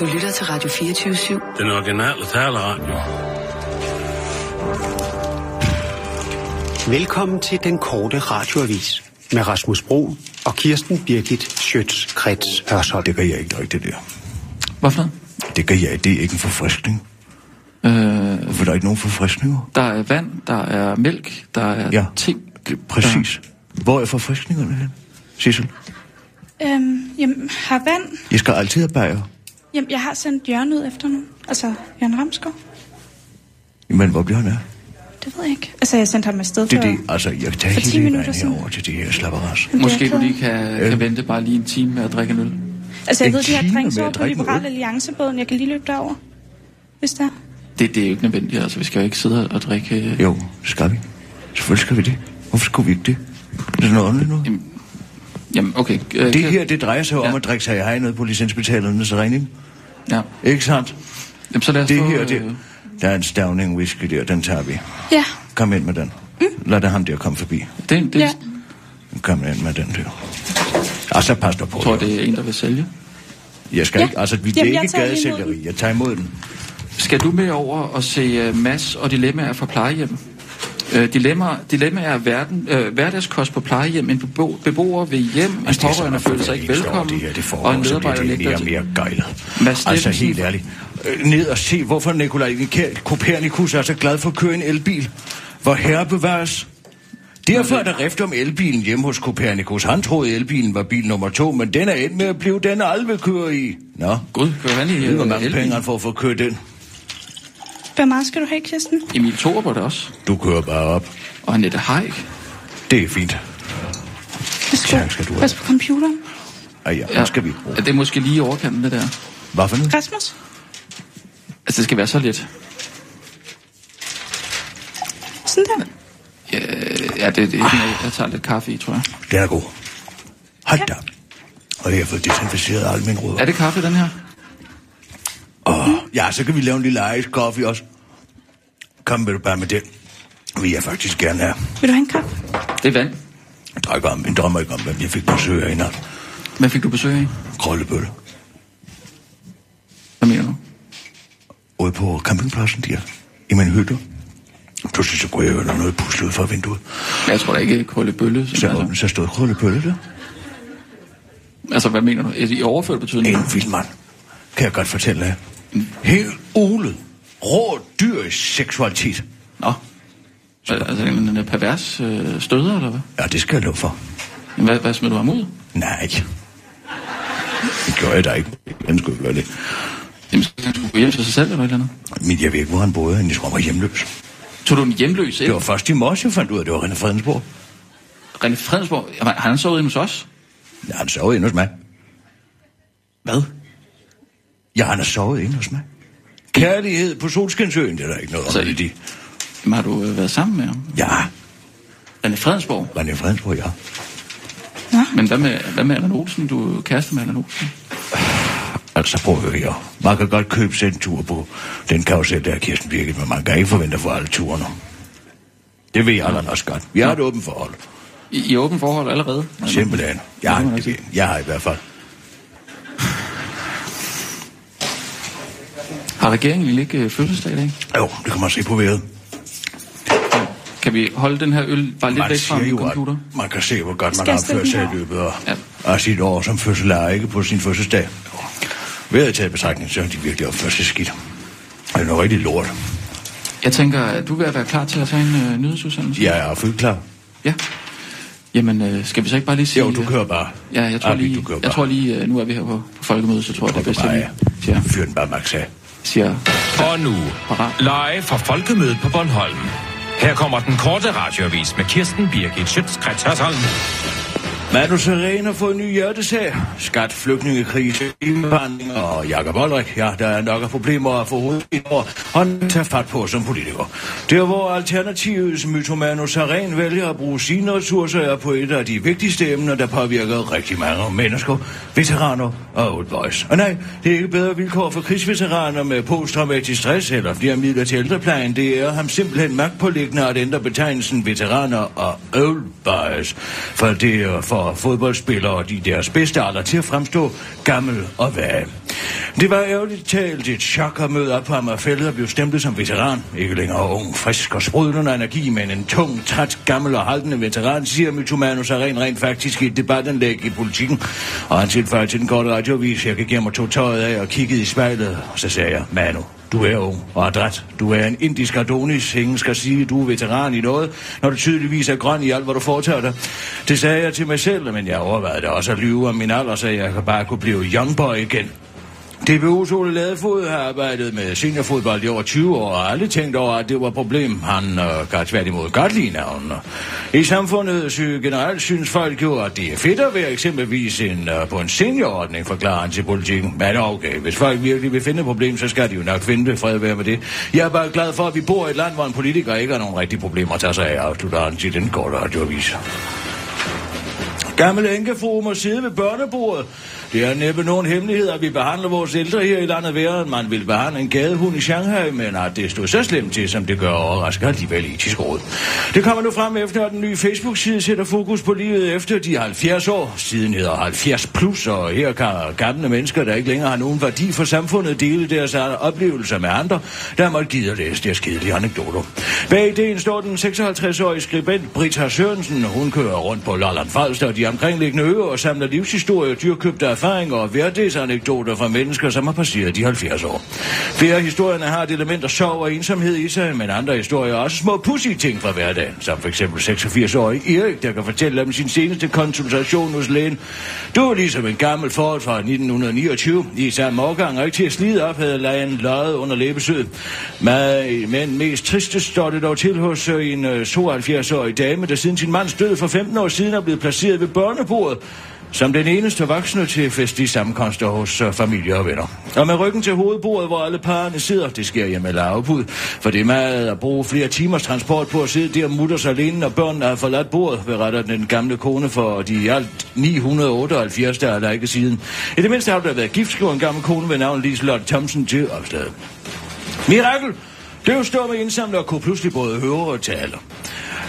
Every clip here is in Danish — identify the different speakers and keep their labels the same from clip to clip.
Speaker 1: Du lytter til Radio 24-7.
Speaker 2: Den originale taleradio.
Speaker 3: Velkommen til den korte radioavis med Rasmus Bro og Kirsten Birgit Schøtz-Krets Hørsholm.
Speaker 4: Det kan jeg ikke rigtigt der.
Speaker 5: Hvorfor?
Speaker 4: Det kan jeg ikke. Det er ikke en forfriskning.
Speaker 5: Øh,
Speaker 4: For der er ikke nogen forfriskninger.
Speaker 5: der er vand, der er mælk, der er
Speaker 4: Ja.
Speaker 5: Øh, ting.
Speaker 4: Det, præcis. Hvor er forfriskningerne hen? Sissel,
Speaker 6: Øhm, jamen, har vand...
Speaker 4: jeg skal altid have bajer.
Speaker 6: Jamen, jeg har sendt Jørgen ud efter nu. Altså, Jørgen Ramskov.
Speaker 4: Men hvor bliver han af?
Speaker 6: Det ved jeg ikke. Altså, jeg sendte ham afsted
Speaker 4: Det er
Speaker 6: for...
Speaker 4: det. Altså, jeg kan tage
Speaker 6: For 10
Speaker 4: hele
Speaker 6: minutter
Speaker 4: vejen
Speaker 6: siden.
Speaker 4: herover til det her slapperas.
Speaker 6: Jamen, det er
Speaker 5: Måske
Speaker 6: jeg
Speaker 5: du
Speaker 6: ked af.
Speaker 5: lige kan, kan vente bare lige en time med at drikke en øl.
Speaker 6: Altså, jeg
Speaker 4: en
Speaker 6: ved, de har
Speaker 4: time
Speaker 6: drinks
Speaker 4: med at
Speaker 6: over på
Speaker 4: drikke en øl.
Speaker 6: Liberal Alliancebåden. Jeg kan lige løbe derover, hvis der.
Speaker 5: Det, det er jo ikke nødvendigt, altså vi skal jo ikke sidde og drikke... øh,
Speaker 4: Jo, det skal vi. Selvfølgelig skal vi det. Hvorfor skulle vi ikke det? Er det noget åndeligt noget?
Speaker 5: Jamen, okay. Øh,
Speaker 4: Det her, det drejer sig jo om
Speaker 5: Ja.
Speaker 4: at drikke sig i hegnet på licensbetalernes regning.
Speaker 5: Ja.
Speaker 4: Ikke sandt?
Speaker 5: Jamen, så lad os
Speaker 4: Det
Speaker 5: få,
Speaker 4: her,
Speaker 5: øh,
Speaker 4: det... Der er en stavning whisky der, den tager vi.
Speaker 6: Ja,
Speaker 4: Kom ind med den.
Speaker 6: Mm.
Speaker 4: Lad da ham der komme forbi.
Speaker 5: Det, det,
Speaker 6: ja.
Speaker 5: ja.
Speaker 4: Kom ind med den der. Og så pas dig på.
Speaker 5: Jeg tror,
Speaker 4: jo.
Speaker 5: det er en, der vil sælge.
Speaker 4: Jeg skal
Speaker 6: Ja.
Speaker 4: ikke, altså, vi det er
Speaker 6: Jamen, jeg
Speaker 4: ikke
Speaker 6: tager lige imod
Speaker 4: gadesælgeri. Jeg tager imod den.
Speaker 5: Skal du med over og se uh, Mass og Dilemmaer fra plejehjem? Uh, dilemma, dilemma er verden, uh, hverdagskost på plejehjem. En bebo, beboer ved hjem, en
Speaker 4: Altså, det er så
Speaker 5: pårørende
Speaker 4: meget
Speaker 5: føler sig ikke
Speaker 4: forventningslov,
Speaker 5: velkommen,
Speaker 4: Det her, det foregår,
Speaker 5: og en medarbejder
Speaker 4: så
Speaker 5: nægter
Speaker 4: bliver det mere
Speaker 5: til...
Speaker 4: og mere gejlet.
Speaker 5: Mads
Speaker 4: Altså
Speaker 5: Steffensen-
Speaker 4: helt ærligt. Øh, Ned og se, hvorfor Nikolaj Nikær- Kopernikus er så glad for at køre en elbil. Hvor herre bevares. Derfor er der rift om elbilen hjemme hos Kopernikus. Han troede, elbilen var bil nummer to, men den er endt med at blive den, Alve kører i. Nå,
Speaker 5: Gud, kører han i
Speaker 4: det var
Speaker 5: uh,
Speaker 4: mange penge,
Speaker 5: elbil?
Speaker 4: han får for at køre den.
Speaker 6: Hvor meget skal du have, Kirsten?
Speaker 5: Emil Thorup er der også,
Speaker 4: Du kører bare op.
Speaker 5: og Annette Haik.
Speaker 4: Det er fint.
Speaker 6: Værsgo.
Speaker 4: Tak skal du have.
Speaker 6: Pas på computeren.
Speaker 4: Ej, ja, ja. skal vi ikke bruge.
Speaker 5: Er det er måske lige i overkanten, det der? Altså,
Speaker 4: Hvad for nu?
Speaker 6: Rasmus?
Speaker 5: det skal være så lidt.
Speaker 6: Sådan der.
Speaker 5: Ja, ja det, det er sådan, jeg- jeg tager lidt kaffe i, tror jeg.
Speaker 4: Den er god. Hold
Speaker 6: Ja.
Speaker 4: da. Og jeg har fået desinficeret alle mine rødder.
Speaker 5: Er det kaffe, den her?
Speaker 4: Åh, ja, så kan vi lave en lille ice coffee også. Kom vel bare med det. Vil jeg faktisk gerne have.
Speaker 6: Vil du have en kop?
Speaker 5: Det er vand.
Speaker 4: Jeg drikker om, jeg drømmer ikke om, hvem jeg fik besøg af i nat.
Speaker 5: Hvad fik du besøg af?
Speaker 4: Krollebølle.
Speaker 5: Hvad mener du?
Speaker 4: Ude på campingpladsen der. I min hytte. Pludselig så kunne jeg høre der var noget puslet ud fra vinduet.
Speaker 5: Jeg tror da ikke, Krølle Bølle.
Speaker 4: Så,
Speaker 5: Altså,
Speaker 4: så stod Krollebølle der.
Speaker 5: altså, hvad mener du? I overført betydning?
Speaker 4: En vild mand. Kan jeg godt fortælle jer. Helt ulet. Rå dyr i seksualitet.
Speaker 5: Nå. Al- Altså en, en pervers øh, støder, eller hvad?
Speaker 4: Ja, det skal jeg love for.
Speaker 5: Jamen, Hvad, hvad smed du ham ud?
Speaker 4: Nej. Det gjorde jeg da ikke. Den skulle gøre det.
Speaker 5: Jamen, så skulle han gå hjem til sig selv, eller et eller andet?
Speaker 4: Men jeg ved ikke, hvor han boede, han jeg tror, han var hjemløs.
Speaker 5: Tog du en hjemløs
Speaker 4: Det
Speaker 5: ind?
Speaker 4: var først i morges, jeg fandt ud af, at det var René Fredensborg.
Speaker 5: René Fredensborg, jamen, har han sovet inde hos os?
Speaker 4: Ja, han sov inde hos mig.
Speaker 5: Hvad?
Speaker 4: Ja, han har sovet inde hos mig. Kærlighed på Solskinsøen, det er der ikke noget
Speaker 5: Så-
Speaker 4: om i det.
Speaker 5: Jamen, har du øh, været sammen med ham?
Speaker 4: Ja,
Speaker 5: René Fredensborg?
Speaker 4: René Fredensborg, ja.
Speaker 5: Men hvad med, hvad med Allan Olsen? Du er jo kæreste med Allan Olsen.
Speaker 4: Altså, prøv at høre her. Man kan godt købe sig en tur på den karusel, der er Kirsten Birgit, men man kan ikke forvente at få alle turene. Det ved Allan også godt. Vi har et åbent forhold.
Speaker 5: I, I åbent forhold allerede?
Speaker 4: Simpelthen. Ja,
Speaker 5: Det må man
Speaker 4: det
Speaker 5: sige.
Speaker 4: ved jeg. jeg har i hvert fald.
Speaker 5: Har regeringen egentlig ikke øh, fødselsdag i dag?
Speaker 4: Jo, det kan man se på vejret.
Speaker 5: Kan vi holde den her øl bare lidt
Speaker 4: Man
Speaker 5: væk fra
Speaker 4: siger
Speaker 5: min
Speaker 4: jo, at
Speaker 5: computer?
Speaker 4: man kan se, hvor godt man
Speaker 6: Skal
Speaker 4: har
Speaker 6: jeg stille
Speaker 4: opført sig
Speaker 6: den
Speaker 4: i
Speaker 6: her?
Speaker 4: løbet af,
Speaker 5: Ja.
Speaker 4: af sit år som fødselærer, ikke på sin fødselsdag. Ved at tage i betragtning, så har de virkelig opført sig skidt. Det er noget rigtig lort.
Speaker 5: Jeg tænker, at du er ved at være klar til at tage en øh, nyhedsudsendelse?
Speaker 4: Jeg er fuldt klar.
Speaker 5: Ja. Jamen, øh, skal vi så ikke bare lige sige...
Speaker 4: Jo, du kører bare.
Speaker 5: Ja, jeg tror
Speaker 4: Arvid,
Speaker 5: lige,
Speaker 4: du kører
Speaker 5: jeg
Speaker 4: bare.
Speaker 5: tror lige øh, nu er vi her på, på folkemødet, så tror jeg, det er bedst, at
Speaker 4: Nej,
Speaker 5: vi siger,
Speaker 4: fyr den bare max af.
Speaker 5: siger
Speaker 7: Og nu, live fra Folkemødet på Bornholm. Her kommer den korte radioavis med Kirsten Birgit Schøtzgrads Hasholm.
Speaker 4: Manu Serena har fået en ny hjertesag. Skat, flygtningekrise, indvandring og Jakob Olrik. Ja, der er nok af problemer at få hovedet ind over. Han tager fat på som politiker. Der hvor alternativets mytomano Seren vælger at bruge sine ressourcer er på et af de vigtigste emner, der påvirker rigtig mange mennesker, veteraner og old boys. Og nej, det er ikke bedre vilkår for krigsveteraner med posttraumatisk stress eller flere midler til ældreplejen. Det er ham simpelthen magtpålæggende at ændre betegnelsen veteraner og old boys. For det er for for fodboldspillere i deres bedste alder til at fremstå gammel og vage. Det var ærgerligt talt et chok at møde op på Amagerfældet og blive stemplet som veteran. Ikke længere ung, frisk og sprudlende energi, men en tung, træt, gammel og haltende veteran, siger Mytomanus Aren rent faktisk i et debatindlæg i politikken. Og han tilføjer til den korte radiovis, jeg gik hjem og tog tøjet af og kiggede i spejlet, og så sagde jeg, Manu, du er ung og adræt. Du er en indisk Adonis. Ingen skal sige, du er veteran i noget, når du tydeligvis er grøn i alt, hvad du foretager dig. Det sagde jeg til mig selv, men jeg overvejede det også at lyve om min alder, så jeg bare kunne blive youngboy igen. DBU's Ole Ladefod har arbejdet med seniorfodbold i over 20 år, og aldrig tænkt over, at det var et problem. Han øh, kan tværtimod godt lide navnene. I samfundet sy- generelt synes folk jo, at det er fedt at være eksempelvis en, øh, på en seniorordning, forklarer han til politikken. Men okay, hvis folk virkelig vil finde et problem, så skal de jo nok finde det. Fred være med det. Jeg er bare glad for, at vi bor i et land, hvor en politiker ikke har nogen rigtige problemer at tage sig af, afslutter han til den korte radioavis. Gammel enkefru må sidde ved børnebordet. Det er næppe nogen hemmelighed, at vi behandler vores ældre her i landet værre, end man ville behandle en gadehund i Shanghai, men at det stod så slemt til, som det gør, overrasker alligevel etisk råd. Det kommer nu frem efter, at den nye Facebook-side sætter fokus på livet efter de 70 år. Siden hedder 70 plus, og her kan gamle mennesker, der ikke længere har nogen værdi for samfundet, dele deres oplevelser med andre, der måtte gide at læse deres kedelige anekdoter. Bag ideen står den 56-årige skribent Britta Sørensen. Hun kører rundt på Lolland Falster og de omkringliggende øer og samler livshistorier, dyrkøbte erfaringer og hverdagsanekdoter fra mennesker, som har passeret de 70 år. Flere af historierne har et element af sorg og ensomhed i sig, men andre historier er også små pussy ting fra hverdagen, som for eksempel 86-årig Erik, der kan fortælle om sin seneste konsultation hos lægen. Du er ligesom en gammel Ford fra 1929. I samme årgang og ikke til at slide op, havde lægen løjet under læbesød. Men, men mest triste står det dog til hos øh, en øh, 72-årig dame, der siden sin mands død for 15 år siden er blevet placeret ved børnebordet som den eneste voksne til festlige sammenkomster hos øh, familie og venner. Og med ryggen til hovedbordet, hvor alle parerne sidder, det sker hjemme med lavebud, for det er meget at bruge flere timers transport på at sidde der og mutter sig alene, når børnene har forladt bordet, beretter den gamle kone for de i alt 978, der er der ikke siden. I det mindste har der været gift, skriver en gammel kone ved navn Liselotte Thomsen til opslaget. Mirakel! Det står med indsamler og kunne pludselig både høre og tale.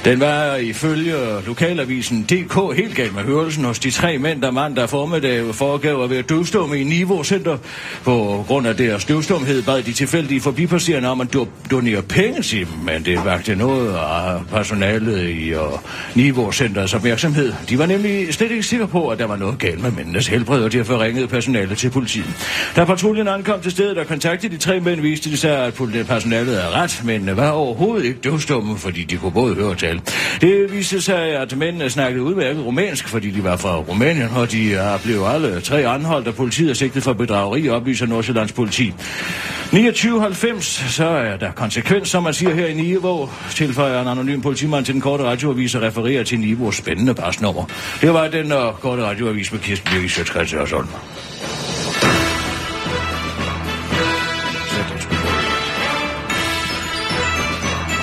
Speaker 4: Den var ifølge lokalavisen DK helt galt med hørelsen hos de tre mænd, der mandag formiddag foregav at være døvstumme i Niveau Center. På grund af deres døvstumhed bad de tilfældige forbipasserende om at do- donere penge til dem, men det vagte noget af personalet i uh, Niveau Centers opmærksomhed. De var nemlig slet ikke sikre på, at der var noget galt med mændenes helbred, og derfor ringede personalet til politiet. Da patruljen ankom til stedet og kontaktede de tre mænd, viste det sig, at politi- personalet havde ret, men var overhovedet ikke døvstumme, fordi de kunne både høre og tale. Det viste sig, at mændene snakkede udmærket rumænsk, fordi de var fra Rumænien, og de øh, blev alle tre anholdt, og politiet er sigtet for bedrageri, oplyser Nordsjællands politi. 2990, så er der konsekvens, som man siger her i Niveau, tilføjer en anonym politimand til den korte radioavis og refererer til Niveaus spændende barsnummer. Det var den øh, korte radioavis med Kirsten Birgit Sjøtskrets og sådan.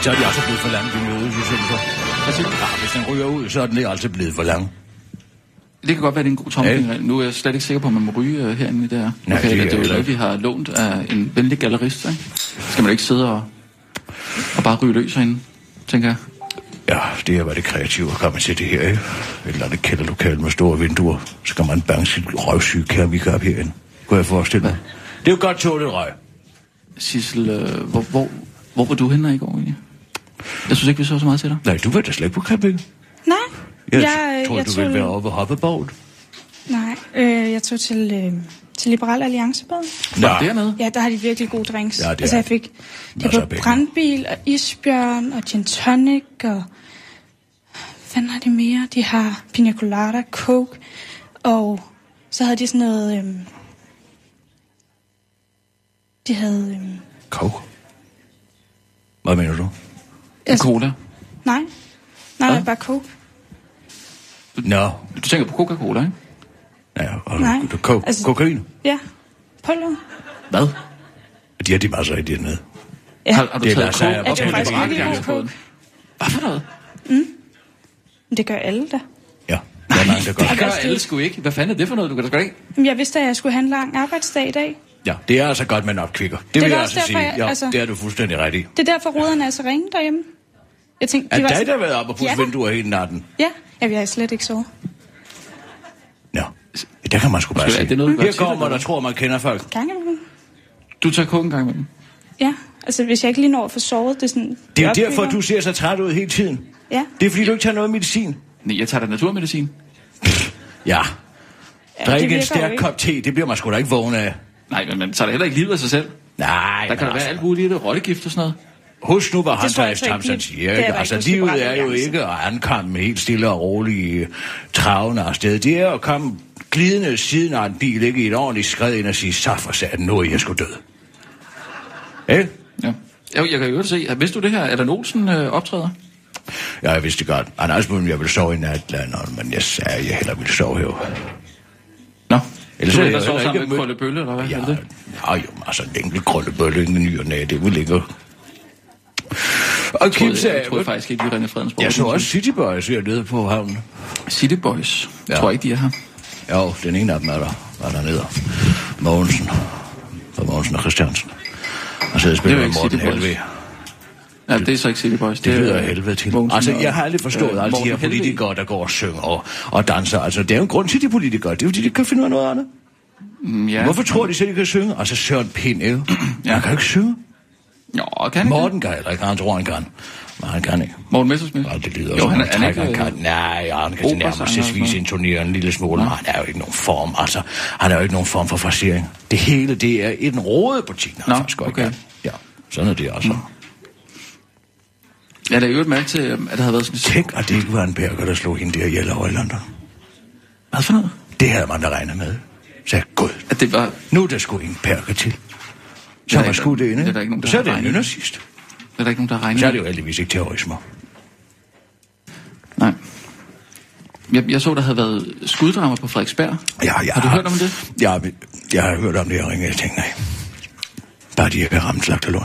Speaker 4: Så er de også blevet for lange, de mødes, synes jeg. Altså,
Speaker 5: Hvad siger du?
Speaker 4: Ja, hvis den ryger ud, så er den altså blevet for lang.
Speaker 5: Det kan godt være, det er en god tommelfingerregel. Nu er jeg slet ikke sikker på, om man må ryge øh, herinde i det her.
Speaker 4: Nej, det er
Speaker 5: det, det er jo
Speaker 4: heller
Speaker 5: noget,
Speaker 4: ikke.
Speaker 5: vi har lånt af en venlig gallerist. Ikke? Skal man ikke sidde og, og bare ryge løs herinde, tænker jeg.
Speaker 4: Ja, det er, hvad det kreative at komme til det her, ikke? Et eller andet kælderlokale med store vinduer. Så kan man bange sit røvsyge keramik op herinde. Kunne jeg forestille mig? Det er jo godt tålet røg.
Speaker 5: Sissel, øh, hvor, hvor, hvor var du henne i går egentlig? Jeg synes ikke, vi så så meget til dig.
Speaker 4: Nej, du var da slet ikke på camping.
Speaker 6: Nej.
Speaker 4: Jeg, jeg tror,
Speaker 6: jeg
Speaker 4: du
Speaker 6: tog,
Speaker 4: ville være oppe ved Hoppeborg.
Speaker 6: Nej, øh, jeg tog til, øh, til Liberal Alliance bad.
Speaker 5: Var du dernede?
Speaker 6: Ja, der har de virkelig gode drinks.
Speaker 4: Ja, det
Speaker 6: altså,
Speaker 4: er-
Speaker 6: jeg fik det
Speaker 4: Masser
Speaker 6: var
Speaker 4: af penge.
Speaker 6: brandbil og isbjørn og gin tonic og... Hvad har de mere? De har pina colada, coke, og så havde de sådan noget... Øhm, de havde... Øhm,
Speaker 4: Kog. Hvad mener du?
Speaker 6: altså,
Speaker 5: Cola.
Speaker 6: Nej, nej, nej, bare coke.
Speaker 4: Nå,
Speaker 5: Du tænker på Coca-Cola, ikke?
Speaker 4: ja, og
Speaker 6: Nej.
Speaker 4: du kog,
Speaker 6: Altså-
Speaker 4: kokain.
Speaker 6: Ja, pulver.
Speaker 5: Hvad?
Speaker 4: De har de masser af dernede.
Speaker 6: Ja.
Speaker 5: Har, har du
Speaker 4: Det lader
Speaker 5: taget
Speaker 4: sig
Speaker 5: coke?
Speaker 4: at
Speaker 5: op på
Speaker 4: betale
Speaker 5: det
Speaker 4: for.
Speaker 5: brændte
Speaker 6: Jeg kan
Speaker 5: gang?
Speaker 6: faktisk ikke lide
Speaker 5: Hvad for noget?
Speaker 6: Men det gør alle da.
Speaker 4: Ja, der er mange, der gør
Speaker 5: Det gør
Speaker 4: det.
Speaker 5: alle sgu ikke. Hvad fanden er det for noget? Du kan da sgu da ikke...
Speaker 6: Men jeg vidste, at jeg skulle have en lang arbejdsdag i dag.
Speaker 4: Ja, det er altså godt med en opkvikker. Det,
Speaker 6: er
Speaker 4: vil jeg
Speaker 6: også
Speaker 4: altså
Speaker 6: derfor,
Speaker 4: sige.
Speaker 6: jeg-
Speaker 4: Ja,
Speaker 6: altså-
Speaker 4: det er du fuldstændig ret i.
Speaker 6: Det er derfor, ruderne er så ringe derhjemme. Jeg tænkte,
Speaker 4: Er
Speaker 6: de var
Speaker 4: dig,
Speaker 6: sådan-
Speaker 4: der har været oppe og
Speaker 6: Ja
Speaker 4: pusse
Speaker 6: da.
Speaker 4: vinduer hele natten?
Speaker 6: Ja, jeg har slet ikke sovet.
Speaker 4: det kan man sgu bare
Speaker 5: Skal- er
Speaker 4: sige.
Speaker 5: det noget, du gør
Speaker 4: Her
Speaker 5: tit,
Speaker 4: kommer
Speaker 5: eller
Speaker 4: der
Speaker 5: hvad?
Speaker 4: tror, man kender folk.
Speaker 6: Gang imellem.
Speaker 5: Du tager koden en gang imellem.
Speaker 6: Ja, altså hvis jeg ikke lige når at få sovet, det er sådan...
Speaker 4: Det er
Speaker 6: opbygger-
Speaker 4: derfor, du ser så træt ud hele tiden.
Speaker 6: Ja.
Speaker 4: Det er fordi, du ikke tager noget medicin.
Speaker 5: Nej, jeg tager da naturmedicin.
Speaker 4: Ja.
Speaker 6: Ja, det
Speaker 4: Drik
Speaker 6: virker
Speaker 4: en
Speaker 6: jo
Speaker 4: stærk
Speaker 6: ikke.
Speaker 4: kop te, det bliver man sgu da ikke vågen af.
Speaker 5: Nej, men man tager da heller ikke livet af sig selv.
Speaker 4: Nej, altså.
Speaker 5: Der kan der være alt muligt i det, rottegift og sådan noget.
Speaker 4: Husk nu, hvad han
Speaker 6: tror jeg
Speaker 4: Thijs
Speaker 6: så ikke,
Speaker 4: Tamsen
Speaker 6: det-
Speaker 4: siger.
Speaker 6: det er
Speaker 4: Ikke?
Speaker 6: der
Speaker 4: Altså,
Speaker 6: ikke hos Liberal
Speaker 4: livet er jo
Speaker 6: Alliance.
Speaker 4: ikke at ankomme helt stille og roligt øh, travende afsted. Det er at komme glidende siden af en bil, ikke i et ordentligt skred ind og sige, så for satan, nu er jeg sgu død. Eh?
Speaker 5: Ja. Jo, jeg kan jo godt se, at vidste du det her, at Dan Olsen øh, optræder?
Speaker 4: Ja, jeg vidste godt. Anders Bund, jeg ville sove i natlanderen, men jeg sagde, at jeg hellere ville sove her.
Speaker 5: Nå,
Speaker 4: Ellers er
Speaker 5: du er
Speaker 4: jeg
Speaker 5: der
Speaker 4: heller
Speaker 5: står
Speaker 4: ikke
Speaker 5: sammen med
Speaker 4: mødt-
Speaker 5: Krølle Bølle, eller hvad?
Speaker 4: Ja,
Speaker 5: Ja. Det?
Speaker 4: ja, jo, altså en enkelt krøllebølle i den nye og næ, det vil ikke. Og
Speaker 5: Jeg
Speaker 4: Kim
Speaker 5: troede, jeg,
Speaker 4: sagde,
Speaker 5: jeg troede faktisk ikke, at René Fredensborg.
Speaker 4: jeg så også City Boys her nede på havnen.
Speaker 5: City Boys.
Speaker 4: Ja.
Speaker 5: Ja. Tror ikke, de er her.
Speaker 4: Jo, den ene af dem er der, var dernede. Mogensen. For Mogensen og Christiansen. Og så spiller
Speaker 5: jo
Speaker 4: med
Speaker 5: ikke
Speaker 4: Morten
Speaker 5: City Boys.
Speaker 4: Helve.
Speaker 5: Ja, det er så ikke City Boys.
Speaker 4: Det lyder
Speaker 5: er,
Speaker 4: af helvede til.
Speaker 5: Mogensen
Speaker 4: altså,
Speaker 5: og-
Speaker 4: jeg har aldrig forstået alle
Speaker 5: øh,
Speaker 4: de
Speaker 5: Morten
Speaker 4: her
Speaker 5: Helveg.
Speaker 4: politikere, der går og synger og, og danser. Altså, det er jo en grund til, de er politikere. Det er jo, fordi de kan finde ud af noget andet.
Speaker 5: Mm, Ja.
Speaker 4: Ja. Hvorfor tror de selv, de kan synge? Og så Søren Pind, ikke? ja. Han kan jo ikke synge.
Speaker 5: Nå, kan han ikke
Speaker 4: Morten kan heller ikke. Han tror, han kan. Men han kan ikke.
Speaker 5: det? Morten Messersmith.
Speaker 4: Og det lyder
Speaker 5: jo, han, er,
Speaker 4: han,
Speaker 5: han, er ikke,
Speaker 4: han
Speaker 5: øh,
Speaker 4: kan. Nej, ja, han kan til
Speaker 5: operasanger og sådan
Speaker 4: nærmest vis
Speaker 5: noget.
Speaker 4: intonere en lille smule, men han er jo ikke nogen form, altså, han er jo ikke nogen form for frasering. Det hele, det er en rodet butik, når
Speaker 5: Nå,
Speaker 4: han faktisk går i
Speaker 5: okay.
Speaker 4: gang. Ja, sådan er det altså. også.
Speaker 5: Jeg lavede jo et mærke til, øhm, at der havde været sådan et...
Speaker 4: Tænk, at det ikke var en Berger, der slog hende der ihjel over i London.
Speaker 5: Hvad for noget?
Speaker 4: Det havde man da regnet med. Så jeg, gud,
Speaker 5: At det var...
Speaker 4: nu er der sgu en Berger til.
Speaker 5: er
Speaker 4: Så
Speaker 5: der
Speaker 4: var
Speaker 5: ikke-
Speaker 4: sgu det inde.
Speaker 5: det er der ikke nogen, der
Speaker 4: så er
Speaker 5: har
Speaker 4: det en
Speaker 5: regnet med.
Speaker 4: nynazist.
Speaker 5: Er der ikke nogen, der regner?
Speaker 4: Så er det jo heldigvis ikke terrorisme.
Speaker 5: Nej. Jeg, jeg så, der havde været skuddrama på Frederiksberg.
Speaker 4: Ja, ja.
Speaker 5: Har du hørt om det?
Speaker 4: Ja, men jeg har hørt om det, jeg ringede og tænkte, nej. Bare de ikke har ramt slagterlund.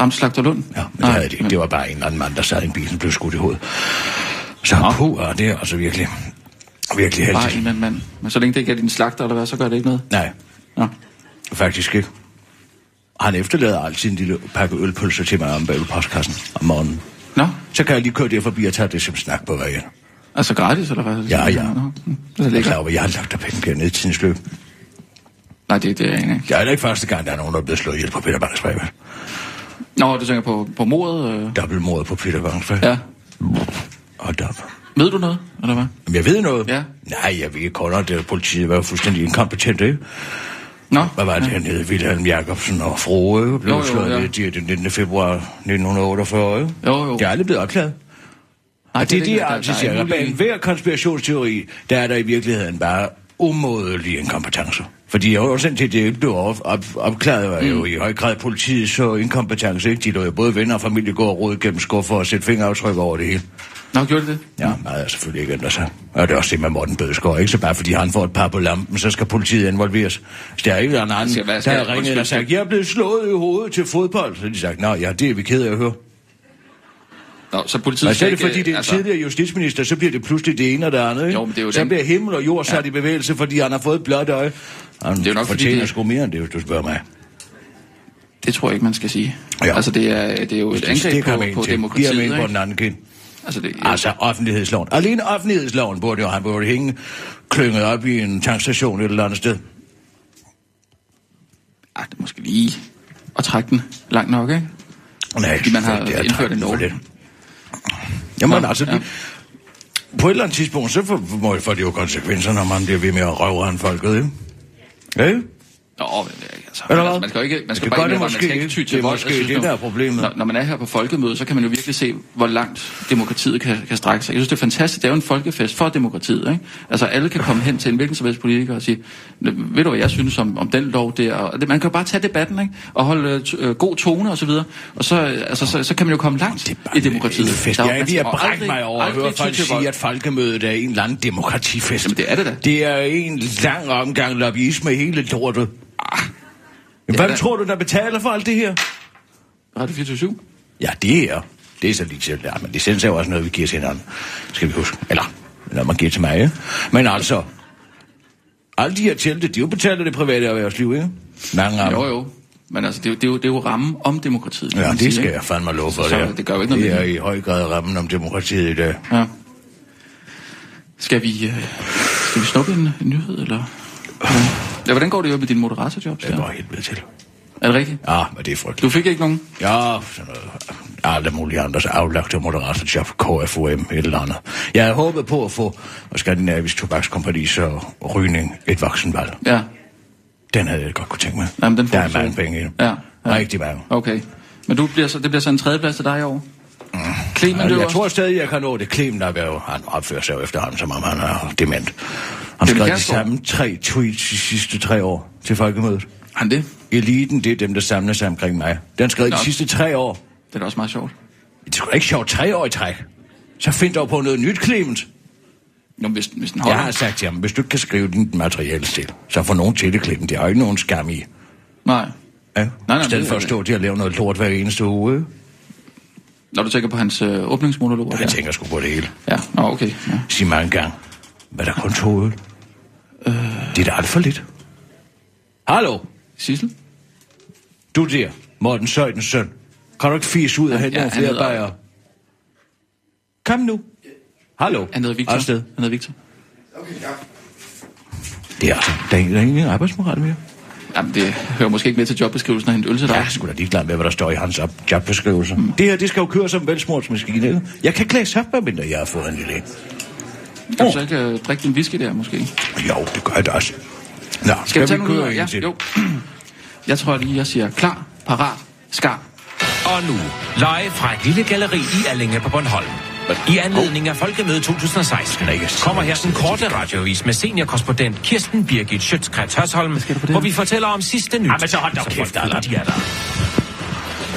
Speaker 5: Ramt Slagterlund?
Speaker 4: Ja, men det, havde de. ikke. det var bare en eller anden mand, der sad i en bil, som blev skudt i hovedet. Så puh, ja, det er altså virkelig, virkelig
Speaker 5: Bare en
Speaker 4: heldigt.
Speaker 5: eller anden mand. Men så længe det ikke er din slagter, eller hvad, så gør det ikke noget.
Speaker 4: Nej,
Speaker 5: Nå.
Speaker 4: faktisk ikke. Han efterlader altid en lille pakke ølpølser til mig om bag ved postkassen om morgenen.
Speaker 5: Nå,
Speaker 4: Så kan jeg lige køre der forbi og tage det som snak på vejen.
Speaker 5: altså gratis, eller hvad?
Speaker 4: Ja, ja.
Speaker 5: Nå, hm.
Speaker 4: Jeg
Speaker 5: Det er
Speaker 4: er klar
Speaker 5: lækkert.
Speaker 4: over, jeg har lagt dig penge gennem ned i tidens løb.
Speaker 5: Nej, det, det er jeg egentlig ikke.
Speaker 4: Jeg er heller ikke første gang, der er nogen, der er blevet slået ihjel på Peter Bangs brev.
Speaker 5: Nå, du tænker på, på mordet? Øh.
Speaker 4: Dobbeltmordet på Peter Bangs brev.
Speaker 5: Ja.
Speaker 4: Og dobbelt.
Speaker 5: Ved du noget, eller hvad?
Speaker 4: Jamen, jeg ved noget.
Speaker 5: Ja.
Speaker 4: Nej, jeg ved ikke godt, at det er politiet var jo fuldstændig inkompetent, ikke?
Speaker 5: Nå,
Speaker 4: Hvad var det, han hed? Vilhelm Jacobsen og Frohe ikke? blev
Speaker 5: Jo,
Speaker 4: jo,
Speaker 5: jo,
Speaker 4: slået
Speaker 5: ja.
Speaker 4: ja. det, den 19. februar 1948. ikke?
Speaker 5: Jo, jo.
Speaker 4: Det er aldrig blevet opklaret.
Speaker 5: Nej,
Speaker 4: Og det, det,
Speaker 5: ikke-
Speaker 4: det er
Speaker 5: der-
Speaker 4: altid
Speaker 5: der er
Speaker 4: siger,
Speaker 5: ikke
Speaker 4: bag
Speaker 5: mulig-
Speaker 4: hver konspirationsteori, der er der i virkeligheden bare umådelige inkompetencer. Fordi jeg var til, at det ikke blev op, op, opklaret, var
Speaker 5: Mm.
Speaker 4: jo i høj grad politiet så inkompetence, ikke? De lå jo både venner og familie gå og rode gennem skuffer og sætte fingeraftryk over det hele.
Speaker 5: Nå, gjorde det det?
Speaker 4: Ja, meget er selvfølgelig ikke ændret sig. Og det er også det med Morten Bødskov, ikke? Så bare fordi han får et par på lampen, så skal politiet involveres. Så der er ikke en anden,
Speaker 5: Skal- hvad
Speaker 4: der
Speaker 5: skal-
Speaker 4: har ringet og
Speaker 5: undskyld.
Speaker 4: sagt, jeg er blevet slået i hovedet til fodbold. Så har de sagt, nej, ja, det er vi ked af at høre.
Speaker 5: Nå, så
Speaker 4: Og
Speaker 5: politiet
Speaker 4: så er
Speaker 5: skal
Speaker 4: det
Speaker 5: ikke... altså-
Speaker 4: fordi, det er en tidligere justitsminister, så bliver det pludselig det ene og det andet, ikke?
Speaker 5: Jo, men det er jo
Speaker 4: så
Speaker 5: den-
Speaker 4: bliver himmel og jord sat i bevægelse, fordi han har fået et blåt øje. Han det
Speaker 5: er jo nok, fordi
Speaker 4: fortjener
Speaker 5: det-
Speaker 4: sgu mere end det, hvis du spørger mig.
Speaker 5: Det tror jeg ikke, man skal sige.
Speaker 4: Ja.
Speaker 5: Altså, det er, det er jo et
Speaker 4: De stikker
Speaker 5: angreb på,
Speaker 4: ham ind
Speaker 5: på
Speaker 4: til. Giver ham
Speaker 5: demokratiet,
Speaker 4: ind på den
Speaker 5: ikke?
Speaker 4: anden kind.
Speaker 5: Altså, det,
Speaker 4: Altså offentlighedsloven. Alene offentlighedsloven burde jo, han burde hænge klynget op i en tankstation et eller andet sted.
Speaker 5: ah, det er måske lige at trække den langt nok, ikke?
Speaker 4: Nej,
Speaker 5: Fordi man har
Speaker 4: det er
Speaker 5: indført en
Speaker 4: tak for
Speaker 5: lov.
Speaker 4: det. Jamen
Speaker 5: Nå,
Speaker 4: altså,
Speaker 5: ja.
Speaker 4: ja. på et eller andet tidspunkt, så får, må får det jo konsekvenser, når man bliver ved med at røve en folket, ikke? Ja, ikke?
Speaker 5: Nå, men, øh, altså,
Speaker 4: Eller hvad?
Speaker 5: altså, man skal jo ikke, man skal
Speaker 4: Det
Speaker 5: bare
Speaker 4: gør det
Speaker 5: indrømme,
Speaker 4: måske
Speaker 5: man skal ikke
Speaker 4: ikke.
Speaker 5: ty
Speaker 4: Det
Speaker 5: til
Speaker 4: er
Speaker 5: vold.
Speaker 4: måske
Speaker 5: Jeg synes
Speaker 4: det,
Speaker 5: nu,
Speaker 4: der er problemet.
Speaker 5: Når, når man er her på folkemødet, så kan man jo virkelig se, hvor langt demokratiet kan, kan strække sig. Jeg synes, det er fantastisk. Det er jo en folkefest for demokratiet. Ikke? Altså, alle kan komme hen til en hvilken som helst politiker og sige, "Nå, ved du, hvad jeg synes om, om den lov der? Og det, man kan jo bare tage debatten ikke? og holde øh, t- øh, god tone og så videre. Og så, øh, altså, så, så kan man jo komme langt i demokratiet.
Speaker 4: Det er fest.
Speaker 5: Der jo-
Speaker 4: Jeg er
Speaker 5: man
Speaker 4: ved at
Speaker 5: skal jo
Speaker 4: brække
Speaker 5: aldrig-
Speaker 4: mig over at
Speaker 5: aldrig
Speaker 4: høre
Speaker 5: ty
Speaker 4: folk
Speaker 5: til vold.
Speaker 4: sige, at folkemødet er en eller anden demokratifest.
Speaker 5: Jamen, det er det da.
Speaker 4: Det er en lang omgang lobbyisme i hele lortet. Men
Speaker 5: det er
Speaker 4: Hvem
Speaker 5: da-
Speaker 4: tror du, der betaler for alt det her?
Speaker 5: Radio 24
Speaker 4: Ja, det er. Det er så lige selv. Ja, men licens er jo også noget, vi giver til hinanden. Skal vi huske. Eller, når man giver til mig, ikke? Men altså, alle de her telte, de er jo betalt af det private erhvervsliv, ikke? Mange af dem.
Speaker 5: Jo, jo. Men altså, det, er jo- det, er jo, det er jo rammen om demokratiet. kan
Speaker 4: Ja,
Speaker 5: man
Speaker 4: det
Speaker 5: sige,
Speaker 4: skal
Speaker 5: ikke?
Speaker 4: jeg fandme lov for.
Speaker 5: Så
Speaker 4: er.
Speaker 5: det gør jo ikke noget
Speaker 4: Det
Speaker 5: ved
Speaker 4: er
Speaker 5: det.
Speaker 4: i øh, høj grad rammen om demokratiet i dag.
Speaker 5: Ja. Skal vi, øh, Skal vi snuppe en, en nyhed, eller? Ja, hvordan går det jo med din moderatorjob?
Speaker 4: Det går helt med til.
Speaker 5: Er det rigtigt?
Speaker 4: Ja, men det er frygteligt.
Speaker 5: Du fik ikke nogen?
Speaker 4: Ja, sådan noget. øh, Alle mulige andres aflagte moderatorjob, KFUM, et eller andet. Jeg havde håbet på at få Skandinavisk Tobakskompagnis og øh, rygning et voksenvalg.
Speaker 5: Ja.
Speaker 4: Den havde jeg godt kunne tænke mig.
Speaker 5: Jamen, den får
Speaker 4: Der er
Speaker 5: du så
Speaker 4: mange
Speaker 5: ikke.
Speaker 4: penge i den.
Speaker 5: Ja, ja.
Speaker 4: Rigtig mange.
Speaker 5: Okay. Men du bliver så, det bliver så en tredjeplads til dig i år? Clemen
Speaker 4: Men
Speaker 5: løber.
Speaker 4: jeg tror stadig, jeg kan nå det. Clemen er jo, han opfører sig jo efterhånden, som om han er dement. Han skrev
Speaker 5: Clement
Speaker 4: de
Speaker 5: Kjærsgaard.
Speaker 4: samme tre tweets de sidste tre år til folkemødet.
Speaker 5: Han det?
Speaker 4: Eliten, det er dem, der samler sig omkring mig. Den skrev
Speaker 5: Nå.
Speaker 4: de sidste tre år.
Speaker 5: Det er da også meget sjovt.
Speaker 4: Det er sgu da ikke sjovt tre år i træk. Så find dog på noget nyt, Clemens.
Speaker 5: Nå, hvis, hvis den holder.
Speaker 4: Jeg har sagt til ham, hvis du ikke kan skrive din materiale stil, så få nogen til det, Clemens. Det er jo ikke nogen skam i.
Speaker 5: Nej.
Speaker 4: Ja?
Speaker 5: nej,
Speaker 4: I stedet
Speaker 5: det-
Speaker 4: for at stå til at lave noget lort hver eneste uge. ikke?
Speaker 5: Når du tænker på hans øh, åbningsmonolog.
Speaker 4: Jeg tænker sgu på det hele.
Speaker 5: Ja, Nå, okay. Ja.
Speaker 4: Sig mig engang. Hvad er der kun to øl? Øh. Det er da alt for lidt. Hallo,
Speaker 5: Sissel?
Speaker 4: du der, Morten Søjdens søn. Kan du ikke fise ud og hente
Speaker 5: Ja,
Speaker 4: nogle
Speaker 5: han
Speaker 4: flere
Speaker 5: hedder-
Speaker 4: bajere? Kom nu. Hallo.
Speaker 5: Han hedder Victor.
Speaker 4: Afsted.
Speaker 5: Han hedder Victor.
Speaker 4: Det er, altså- der er, der er ingen arbejdsmoral mere.
Speaker 5: Jamen, det hører måske ikke med til jobbeskrivelsen at hente øl til dig.
Speaker 4: Jeg er sgu da ligeglad med, hvad der står i hans op- jobbeskrivelse. Mm. Det her, det skal jo køre som velsmordsmaskine, ikke? Jeg kan ikke læse op, medmindre jeg har fået en idé.
Speaker 5: Kan du så ikke øh, drikke din whisky der, måske?
Speaker 4: Jo, det gør jeg da også. Nå, skal,
Speaker 5: Skal vi tage
Speaker 4: vi
Speaker 5: nogle
Speaker 4: køre
Speaker 5: nyheder?
Speaker 4: en til?
Speaker 5: Ja, jo. Jeg tror lige, jeg siger klar, parat, skarp.
Speaker 7: Og nu, live fra et lille galleri i Allinge på Bornholm. I anledning af Folkemødet 2016 kommer her den korte radiovis med seniorkorrespondent Kirsten Birgit Schøtzgrads Hørsholm, hvor vi fortæller om sidste nyt.
Speaker 4: Jamen, så hold da
Speaker 7: som
Speaker 4: kæft,
Speaker 7: Folkemødet
Speaker 4: Allan.
Speaker 7: er der.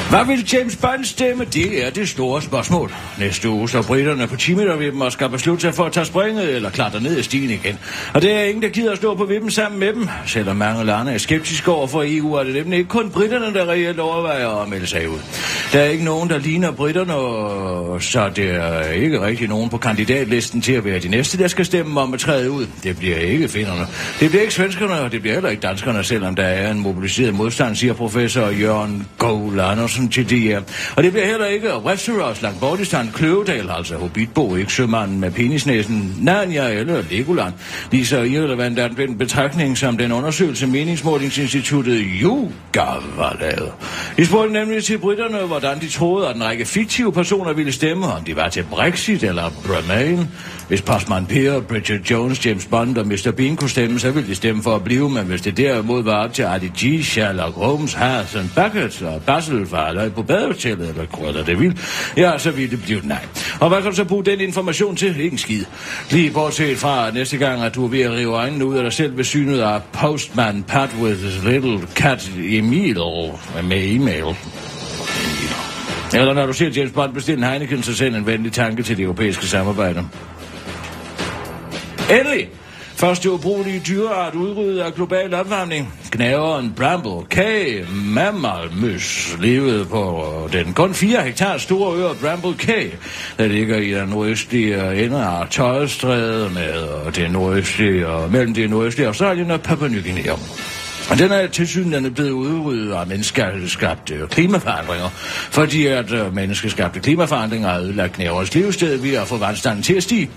Speaker 4: Hvad vil James Bond stemme? Det er det store spørgsmål. Næste uge står britterne på 10 meter vippen og skal beslutte sig for at tage springet eller klatre ned ad stigen igen. Og det er ingen, der gider at stå på vippen sammen med dem. Selvom mange lande er skeptiske over for EU, er det nemlig ikke kun britterne, der reelt overvejer at melde sig ud. Der er ikke nogen, der ligner britterne, og så der er ikke rigtig nogen på kandidatlisten til at være de næste, der skal stemme om at træde ud. Det bliver ikke finnerne. Det bliver ikke svenskerne, og det bliver heller ikke danskerne, selvom der er en mobiliseret modstand, siger professor Jørgen Gold Andersen til DR. Og det bliver heller ikke Westeros, Langbordistan, Kløvedal, altså Hobbitbo, ikke sømanden med penisnæsen, Narnia eller Legoland. Lige så irrelevant er den betragtning, som den undersøgelse meningsmålingsinstituttet YouGov var lavet. De spurgte nemlig til britterne, hvordan de troede, at en række fiktive personer ville stemme, om de var til Brexit eller Remain. Hvis Postman Per, Bridget Jones, James Bond og Mr. Bean kunne stemme, så ville de stemme for at blive, men hvis det derimod var op til R.D.G., Sherlock Holmes, Harrison Bucket og Basil var eller på badehotellet eller krøller det vil, ja, så ville det blive nej. Og hvad kan du så bruge den information til? Ingen skid. Lige bortset fra at næste gang, at du er ved at rive øjnene ud af dig selv ved synet af Postman Pat with his little cat Emil med e-mail. Eller når du ser James Bond bestille en Heineken, så send en venlig tanke til det europæiske samarbejde. Endelig! Første ubrugelige dyreart udryddet af global opvarmning. Gnaveren Bramble K. Mammalmus levede på øh, den kun 4 hektar store øer Bramble K, der ligger i den nordøstlige ende af Torrestrædet med øh, det nordøstlige, og mellem det nordøstlige Australien og Papua Ny Guinea. Og den er tilsyneladende blevet udryddet af menneskeskabte klimaforandringer, fordi at øh, menneskeskabte klimaforandringer har ødelagt knæverens levested ved at få vandstanden til at stige.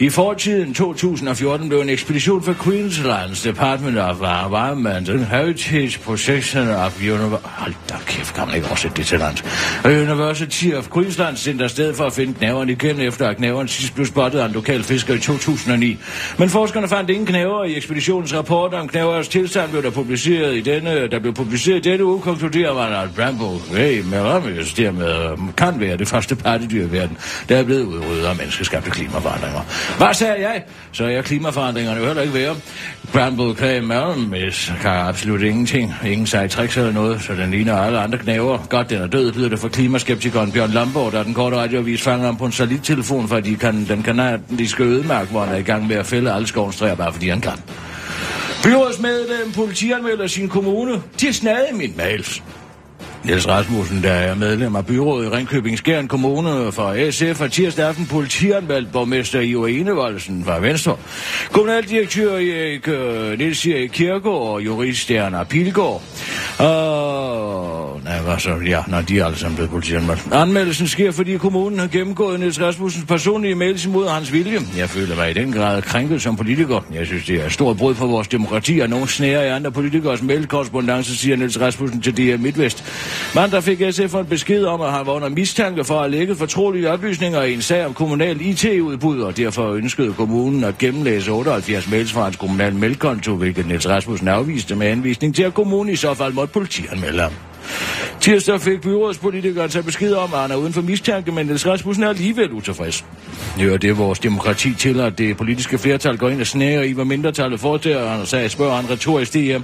Speaker 4: I fortiden 2014 blev en ekspedition fra Queenslands Department of Environment and Heritage Protection of Univer- Hold da kæft, kan man ikke oversætte det til lands. Og University of Queensland sendte afsted for at finde knæveren igen, efter at knæveren sidst blev spottet af en lokal fisker i 2009. Men forskerne fandt ingen knæver i ekspeditionens rapport om knæverens tilstand, blev der publiceret i denne, der blev publiceret i denne uge, konkluderer man, at Bramble Ray Meramis dermed øhm, kan være det første pattedyr i verden, der er blevet udryddet af menneskeskabte klimaforandringer. Hvad sagde jeg? Så er klimaforandringerne jo heller ikke værre. Bramble Ray Meramis kan absolut ingenting, ingen seje tricks eller noget, så den ligner alle andre knæver. Godt, den er død, lyder det fra klimaskeptikeren Bjørn Lamborg, der den korte radioavis fanger ham på en satellittelefon, fra de kan, den kanadiske ødemark, hvor han er i gang med at fælde alle skovens træer, bare fordi han kan. Byrådsmedlem politianmelder sin kommune. De er snadet min mails. Niels Rasmussen, der er medlem af byrådet i Ringkøbing Skjern Kommune for SF, og tirsdag aften politianmeldt borgmester Ivo Enevoldsen fra Venstre. Kommunaldirektør Erik, øh, Niels Erik Kirkegaard og jurist Erna Pilgaard. Og, nej, Berger, så ja, når de er alle sammen blevet politianmeldt. Anmeldelsen sker, fordi kommunen har gennemgået Niels Rasmussens personlige mails imod hans vilje. Jeg føler mig i den grad krænket som politiker. Jeg synes, det er et stort brud for vores demokrati, og nogen snærer i andre politikers mailkorrespondence, siger Niels Rasmussen til DR MidtVest. Mandag fik SF en besked om, at han var under mistanke for at lægge fortrolige oplysninger i en sag om kommunal IT-udbud, og derfor ønskede kommunen at gennemlæse 78 mails fra hans kommunale mailkonto, hvilket Niels Rasmussen afviste med anvisning til, at kommunen i så fald måtte politianmelde ham. Tirsdag fik byrådspolitikeren sig besked om, at han er uden for mistanke, men Niels Rasmussen er alligevel utilfreds. Ja, det er vores demokrati til, at det politiske flertal går ind og snærer i, hvad mindretallet foretager, og så spørger han retorisk det her.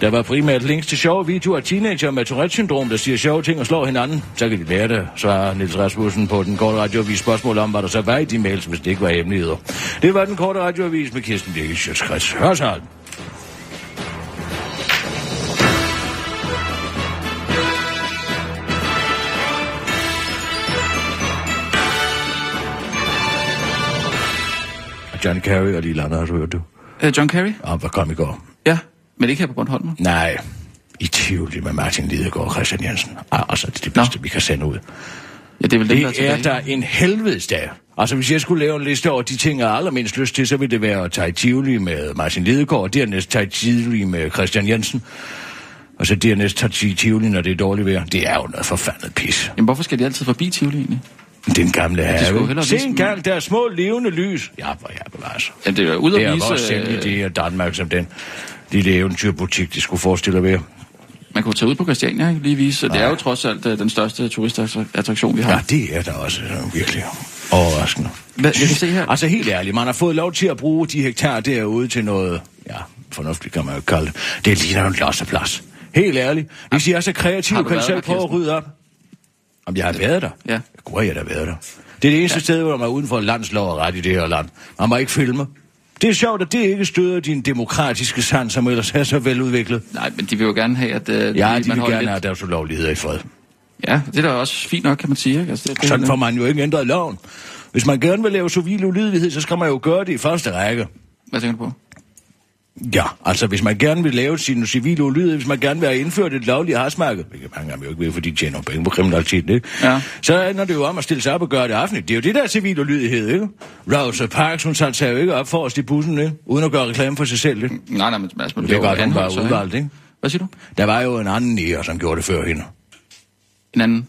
Speaker 4: Der var primært links til sjove videoer af teenager med Tourette-syndrom, der siger sjove ting og slår hinanden. Så kan de lære det, svarer Niels Rasmussen på den korte radioavis spørgsmål om, hvad der så var i de mails, hvis det ikke var hemmeligheder. Det var den korte radioavis med Kirsten Birgit Sjøtskrets. Hørsholm. John Kerry og Lille Anders, hørte du?
Speaker 5: Øh, John Kerry?
Speaker 4: Om hvad kom i går?
Speaker 5: Ja, men ikke her på Bornholm.
Speaker 4: Nej, i Tivoli med Martin Lidegaard og Christian Jensen. Ah, Altså, det er det bedste,
Speaker 5: Nå.
Speaker 4: vi kan sende ud.
Speaker 5: Ja, det er vel dem, der er
Speaker 4: Det er
Speaker 5: tilbage.
Speaker 4: da en helvedes dag. Altså, hvis jeg skulle lave en liste over de ting, jeg har allermindst lyst til, så ville det være at tage i Tivoli med Martin Lidegaard, og dernæst tage i Tivoli med Christian Jensen. Og så dernæst tage i Tivoli, når det er dårligt vejr. Det er jo noget forfandet pis.
Speaker 5: Jamen, hvorfor skal de altid forbi Tivoli egentlig?
Speaker 4: Den gamle
Speaker 5: skulle
Speaker 4: have.
Speaker 5: hellere
Speaker 4: Se
Speaker 5: vise
Speaker 4: en
Speaker 5: dem-
Speaker 4: gang, der er små levende lys. Ja, hvor jeg bevares.
Speaker 5: Ja, det er jo ud
Speaker 4: Det
Speaker 5: at
Speaker 4: er også
Speaker 5: vise...
Speaker 4: selv
Speaker 5: Øh,
Speaker 4: idé af Danmark, som den lille eventyrbutik, de skulle forestille at være.
Speaker 5: man kunne tage ud på Christiania, ikke? lige vise. Så det er jo trods alt øh, den største turistattraktion, vi har.
Speaker 4: Ja, det er da også øh, virkelig overraskende.
Speaker 5: Hvad, jeg kan se her.
Speaker 4: Altså helt ærligt, man har fået lov til at bruge de hektar derude til noget, ja, fornuftigt kan man jo ikke kalde det. Det ligner jo en losseplads. Helt ærligt. Hvis de er så
Speaker 5: Har
Speaker 4: kreative,
Speaker 5: du
Speaker 4: kan de
Speaker 5: været
Speaker 4: selv
Speaker 5: der,
Speaker 4: prøve at
Speaker 5: Kirsten?
Speaker 4: rydde op. Om jeg har været der?
Speaker 5: Ja.
Speaker 4: Hvor jeg da været der? Det er det eneste ja.
Speaker 5: Ja.
Speaker 4: sted, hvor man er uden for landslov og ret i det her land. Man må ikke filme. Det er sjovt, at det ikke støder din demokratiske sand, som ellers er så veludviklet.
Speaker 5: Nej, men de vil jo gerne have, at... Øh, ja,
Speaker 4: Ja, de vil gerne have deres ulovligheder i fred.
Speaker 5: Ja, det er da også fint nok, kan man sige. Ikke? Altså, det, det,
Speaker 4: Sådan får man jo ikke ændret loven. Hvis man gerne vil lave civil ulydighed, så skal man jo gøre det i første række.
Speaker 5: Hvad tænker du på?
Speaker 4: Ja, altså hvis man gerne vil lave sin civile ulydighed, hvis man gerne vil have indført et lovligt hasmarked, hvilket mange gange jo ikke vil, fordi de tjener jo penge på kriminalitet, ikke?
Speaker 5: Ja.
Speaker 4: så handler det jo om at stille sig op og gøre det offentligt. Det er jo det der er civil ulydighed, ikke? Rosa Parks, hun satte sig jo ikke op forrest i bussen, ikke? uden at gøre reklame for sig selv. Ikke?
Speaker 5: Nej, nej, men altså, man
Speaker 4: Det er
Speaker 5: bliver jo
Speaker 4: godt, hun var
Speaker 5: anholdt, så, ikke?
Speaker 4: udvalgt, ikke?
Speaker 5: Hvad siger du?
Speaker 4: Der var jo en anden nære, som gjorde det før hende.
Speaker 5: En anden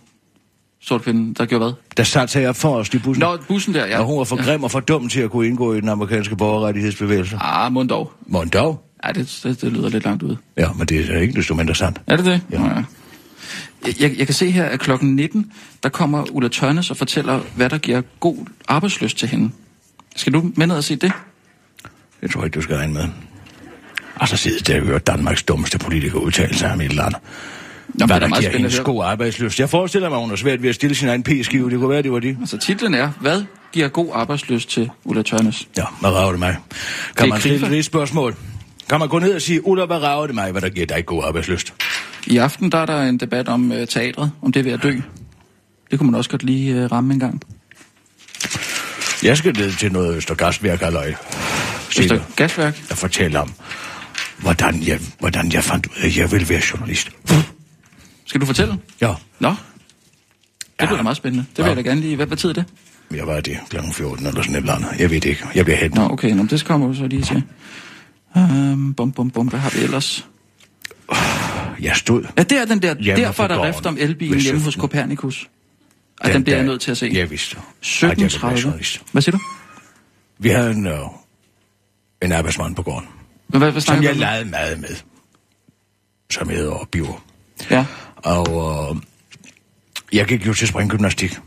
Speaker 5: sort kvinde, der gjorde hvad?
Speaker 4: Der satte sig op forrest i bussen,
Speaker 5: Nå, bussen der, ja.
Speaker 4: og hun var for grim og for dum til at kunne indgå i den amerikanske borgerrettighedsbevægelse.
Speaker 5: Ah, mund dog.
Speaker 4: Må hun dog?
Speaker 5: Ja, det, det, det lyder lidt langt ud.
Speaker 4: Ja, men det er ikke desto mindre sandt.
Speaker 5: Er det det? Ja. ja. Jeg- Jeg, jeg kan se her, at klokken 19, der kommer Ulla Tørnes og fortæller, hvad der giver god arbejdsløst til hende. Skal du med ned og se det?
Speaker 4: Det tror jeg ikke, du skal regne med. Og så sidder der og hører Danmarks dummeste politiker udtale sig om et eller andet. Nå,
Speaker 5: det er
Speaker 4: Hvad
Speaker 5: da
Speaker 4: der
Speaker 5: meget
Speaker 4: giver
Speaker 5: spændende
Speaker 4: hendes
Speaker 5: at
Speaker 4: god arbejdsløst. Jeg forestiller mig, hun har svært ved at stille sin egen p-skive. Det kunne være, det var det.
Speaker 5: Altså titlen er, hvad giver god arbejdsløst til Ulla Tørnes?
Speaker 4: Ja, hvad rager det mig? Kan
Speaker 5: er
Speaker 4: man stille
Speaker 5: krifa.
Speaker 4: det spørgsmål? Kan man gå ned og sige, Ulla, hvad rager det mig, hvad der giver dig god arbejdsløst?
Speaker 5: I aften, der er der en debat om øh, teatret, om det er ved at dø. Det kunne man også godt lige øh, ramme en gang.
Speaker 4: Jeg skal ned til noget Østergastværk, halløj.
Speaker 5: Hvis der
Speaker 4: Sikker.
Speaker 5: er gasværk,
Speaker 4: Jeg fortæller om, hvordan jeg, hvordan jeg fandt ud af, at jeg ville være journalist.
Speaker 5: skal du fortælle?
Speaker 4: Ja,
Speaker 5: Nå, det bliver
Speaker 4: Ja.
Speaker 5: da meget spændende. Det vil
Speaker 4: Ja.
Speaker 5: jeg da gerne lige. Hvad, hvad tid er det?
Speaker 4: jeg var det kl. 14 eller sådan et eller andet. Jeg ved det ikke. Jeg bliver hentet.
Speaker 5: Nå, okay, Nå, men det kommer vi så lige til. Um, bum, bum, bum, hvad har vi ellers?
Speaker 4: Jeg stod
Speaker 5: Ja, det er den der,
Speaker 4: Hjemme
Speaker 5: derfor er
Speaker 4: på
Speaker 5: der
Speaker 4: gården
Speaker 5: rift om elbilen
Speaker 4: ved
Speaker 5: hjemme hos
Speaker 4: Søften.
Speaker 5: Copernicus. Og den bliver jeg
Speaker 4: dag-
Speaker 5: nødt til at se.
Speaker 4: Ja, vidst. du. Ej, det er vel meget
Speaker 5: 17.30.
Speaker 4: journalist.
Speaker 5: Hvad siger du?
Speaker 4: Vi havde en, øh, en arbejdsmand på gården,
Speaker 5: Hvad, hvad, hvad
Speaker 4: som
Speaker 5: snakker
Speaker 4: jeg
Speaker 5: du om?
Speaker 4: legede meget med. Som hedder over Biver.
Speaker 5: Ja.
Speaker 4: Og øh, jeg gik jo til springgymnastik.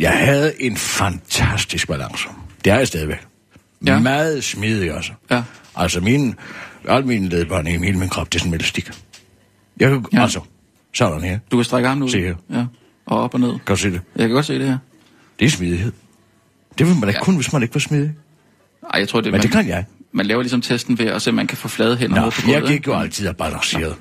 Speaker 4: Jeg havde en fantastisk balance. Det er jeg stadigvæk. Ja.
Speaker 5: Ja.
Speaker 4: Meget smidig også.
Speaker 5: Ja.
Speaker 4: Altså min, al min ledbånd i hele min krop, det er sådan en elastik. Jeg kan, ja.
Speaker 5: Ja.
Speaker 4: altså, sådan her.
Speaker 5: Du kan strække armen ud.
Speaker 4: Se her.
Speaker 5: Ja. Og op og ned.
Speaker 4: Kan du se det?
Speaker 5: Jeg kan godt se det her.
Speaker 4: Det er smidighed. Det vil man da ja.
Speaker 5: Ja.
Speaker 4: kun, hvis man ikke var smidig.
Speaker 5: Ej, jeg tror, det,
Speaker 4: Men det kan jeg.
Speaker 5: Man laver ligesom testen ved at se, om man kan få flade hænder
Speaker 4: Nå,
Speaker 5: ned på
Speaker 4: jeg
Speaker 5: gulvet.
Speaker 4: gik
Speaker 5: ikke?
Speaker 4: jo altid og balancerede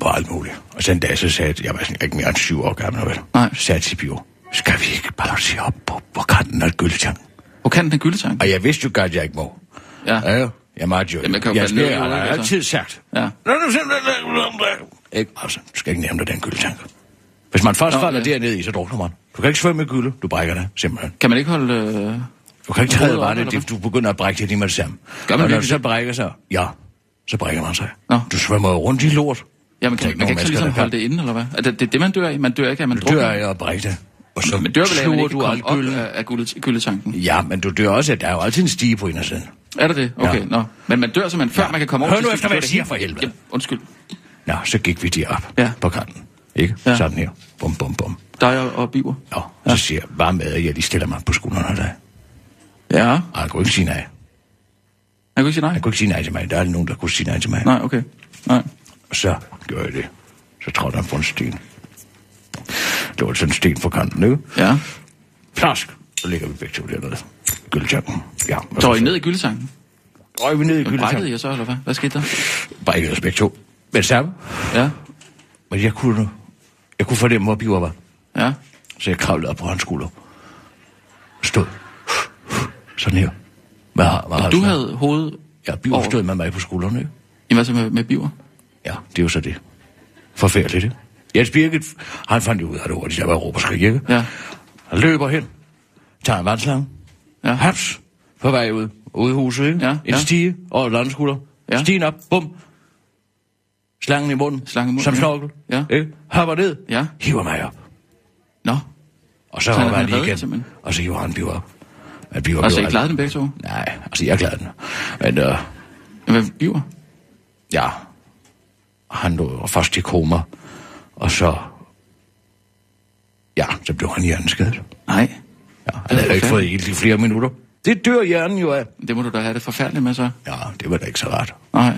Speaker 4: på alt muligt. Og så en dag, så sagde jeg, jeg var sådan, ikke mere end syv år gammel, vel?
Speaker 5: Nej.
Speaker 4: Så sagde jeg til Bio, skal vi ikke balancere op på, på kanten af gyldetangen?
Speaker 5: På kanten af gyldetanken.
Speaker 4: Og jeg vidste jo godt, jeg ikke må.
Speaker 5: Ja.
Speaker 4: ja. Jeg måtte jo.
Speaker 5: Jamen, jeg kan jo
Speaker 4: jeg
Speaker 5: falde ned i
Speaker 4: jeg har
Speaker 5: hovedet, altså.
Speaker 4: altid sagt.
Speaker 5: Ja.
Speaker 4: Nå, nu simpelthen... Ikke, altså, du skal ikke nævne dig den gyldetanke. Hvis man først
Speaker 5: Nå,
Speaker 4: Nå, falder
Speaker 5: ja.
Speaker 4: ja. derned i, så drukner man. Du kan ikke svømme i gylde, du brækker dig simpelthen.
Speaker 5: Kan man ikke holde... Øh...
Speaker 4: Du kan ikke
Speaker 5: Hovedet
Speaker 4: træde
Speaker 5: op,
Speaker 4: vandet,
Speaker 5: eller hvad?
Speaker 4: det, du begynder at brække det lige med det samme.
Speaker 5: Gør man
Speaker 4: Og når
Speaker 5: virkelig
Speaker 4: du så
Speaker 5: det?
Speaker 4: brækker sig, ja, så brækker man sig.
Speaker 5: Nå.
Speaker 4: Du svømmer jo rundt i lort.
Speaker 5: Ja, man
Speaker 4: Der er
Speaker 5: kan,
Speaker 4: ikke
Speaker 5: man kan
Speaker 4: nogen
Speaker 5: ikke så
Speaker 4: mennesker,
Speaker 5: ligesom
Speaker 4: der
Speaker 5: holde det inde, eller hvad? Er det, det er det, man dør af? Man dør ikke af, at man
Speaker 4: Du dør
Speaker 5: drukner?
Speaker 4: af at brække dig. Og så
Speaker 5: Men dør vel af, at man
Speaker 4: sluger
Speaker 5: ikke
Speaker 4: du
Speaker 5: kommer op øh,
Speaker 4: alkoholen.
Speaker 5: af, af guldet- gyldetanken?
Speaker 4: Ja, men du dør også, at der er jo altid en stige på indersiden.
Speaker 5: Er det det? Okay,
Speaker 4: Ja.
Speaker 5: nå. Men man dør simpelthen, før
Speaker 4: Ja.
Speaker 5: man kan komme
Speaker 4: Hør
Speaker 5: over
Speaker 4: nu
Speaker 5: til
Speaker 4: efter, hvad jeg
Speaker 5: det-
Speaker 4: siger for helvede.
Speaker 5: Ja, undskyld.
Speaker 4: Nå, så gik vi derop
Speaker 5: Ja.
Speaker 4: ja. på kanten. Ikke?
Speaker 5: Ja.
Speaker 4: Ja. Sådan her. Bum, bum, bum.
Speaker 5: Dig og, og Biver.
Speaker 4: Ja. Og så siger jeg, hvad med, at jeg lige stiller mig på skuldrene af dig?
Speaker 5: Ja.
Speaker 4: Og jeg kunne ikke sige nej.
Speaker 5: Jeg kunne ikke sige nej.
Speaker 4: Jeg kunne ikke sige nej til mig. Der er aldrig nogen, der kunne sige nej til mig.
Speaker 5: Nej, okay. Nej.
Speaker 4: Og så gjorde jeg det. Så trådte han på en sten. Det var sådan en sten på kanten, ikke?
Speaker 5: Ja.
Speaker 4: Plask! Så ligger vi begge to dernede. Gyldetanken. Ja. og
Speaker 5: Drøg I
Speaker 4: så-
Speaker 5: ned i gyldetanken?
Speaker 4: Drøg vi ned i
Speaker 5: Brækkede
Speaker 4: gyldetanken.
Speaker 5: jeg så, eller hvad? Hvad skete der?
Speaker 4: Brækkede os begge to. Men sammen.
Speaker 5: Ja.
Speaker 4: Men jeg kunne, jeg kunne fornemme, hvor Biver var.
Speaker 5: Ja.
Speaker 4: Så jeg kravlede op på hans skulder. Stod. Sådan her. Hvad har, hvad har
Speaker 5: Du
Speaker 4: sådan-
Speaker 5: havde hovedet
Speaker 4: Ja, Biver stod med mig på skuldrene, ikke?
Speaker 5: Jamen, hvad så med, med Biver?
Speaker 4: Ja, det er jo så det. Forfærdeligt, ikke? Jens Birgit, han fandt jo ud af det hurtigt, der var råb og skrig, ikke?
Speaker 5: Ja.
Speaker 4: Han løber hen, tager en vandslange,
Speaker 5: Ja.
Speaker 4: haps, på vej ud, ud i huset, ikke?
Speaker 5: Ja,
Speaker 4: en
Speaker 5: ja.
Speaker 4: stige og et landskulder.
Speaker 5: Ja.
Speaker 4: Ja. Stigen op, bum. Slangen i munden.
Speaker 5: Slangen i munden,
Speaker 4: Som
Speaker 5: ja.
Speaker 4: snorkel.
Speaker 5: Ja.
Speaker 4: Ikke? Hopper ned.
Speaker 5: Ja.
Speaker 4: Hiver mig op.
Speaker 5: Nå.
Speaker 4: Og så,
Speaker 5: Så han
Speaker 4: hopper
Speaker 5: er
Speaker 4: han lige
Speaker 5: reddet,
Speaker 4: igen.
Speaker 5: simpelthen.
Speaker 4: Og så hiver han biver op. At biver
Speaker 5: Altså,
Speaker 4: bliver
Speaker 5: I klarede
Speaker 4: reddet.
Speaker 5: den begge to?
Speaker 4: Nej, altså jeg klarede den. Men øh,
Speaker 5: Jamen, hvad- Biver?
Speaker 4: ja, han lå jo først i koma, og så, ja, så blev han hjerneskadet.
Speaker 5: Nej.
Speaker 4: Ja, han havde ikke fået ild i flere minutter. Det dør hjernen jo af.
Speaker 5: Det må du da have det forfærdeligt med, så.
Speaker 4: Ja, det var da ikke så rart.
Speaker 5: Nej.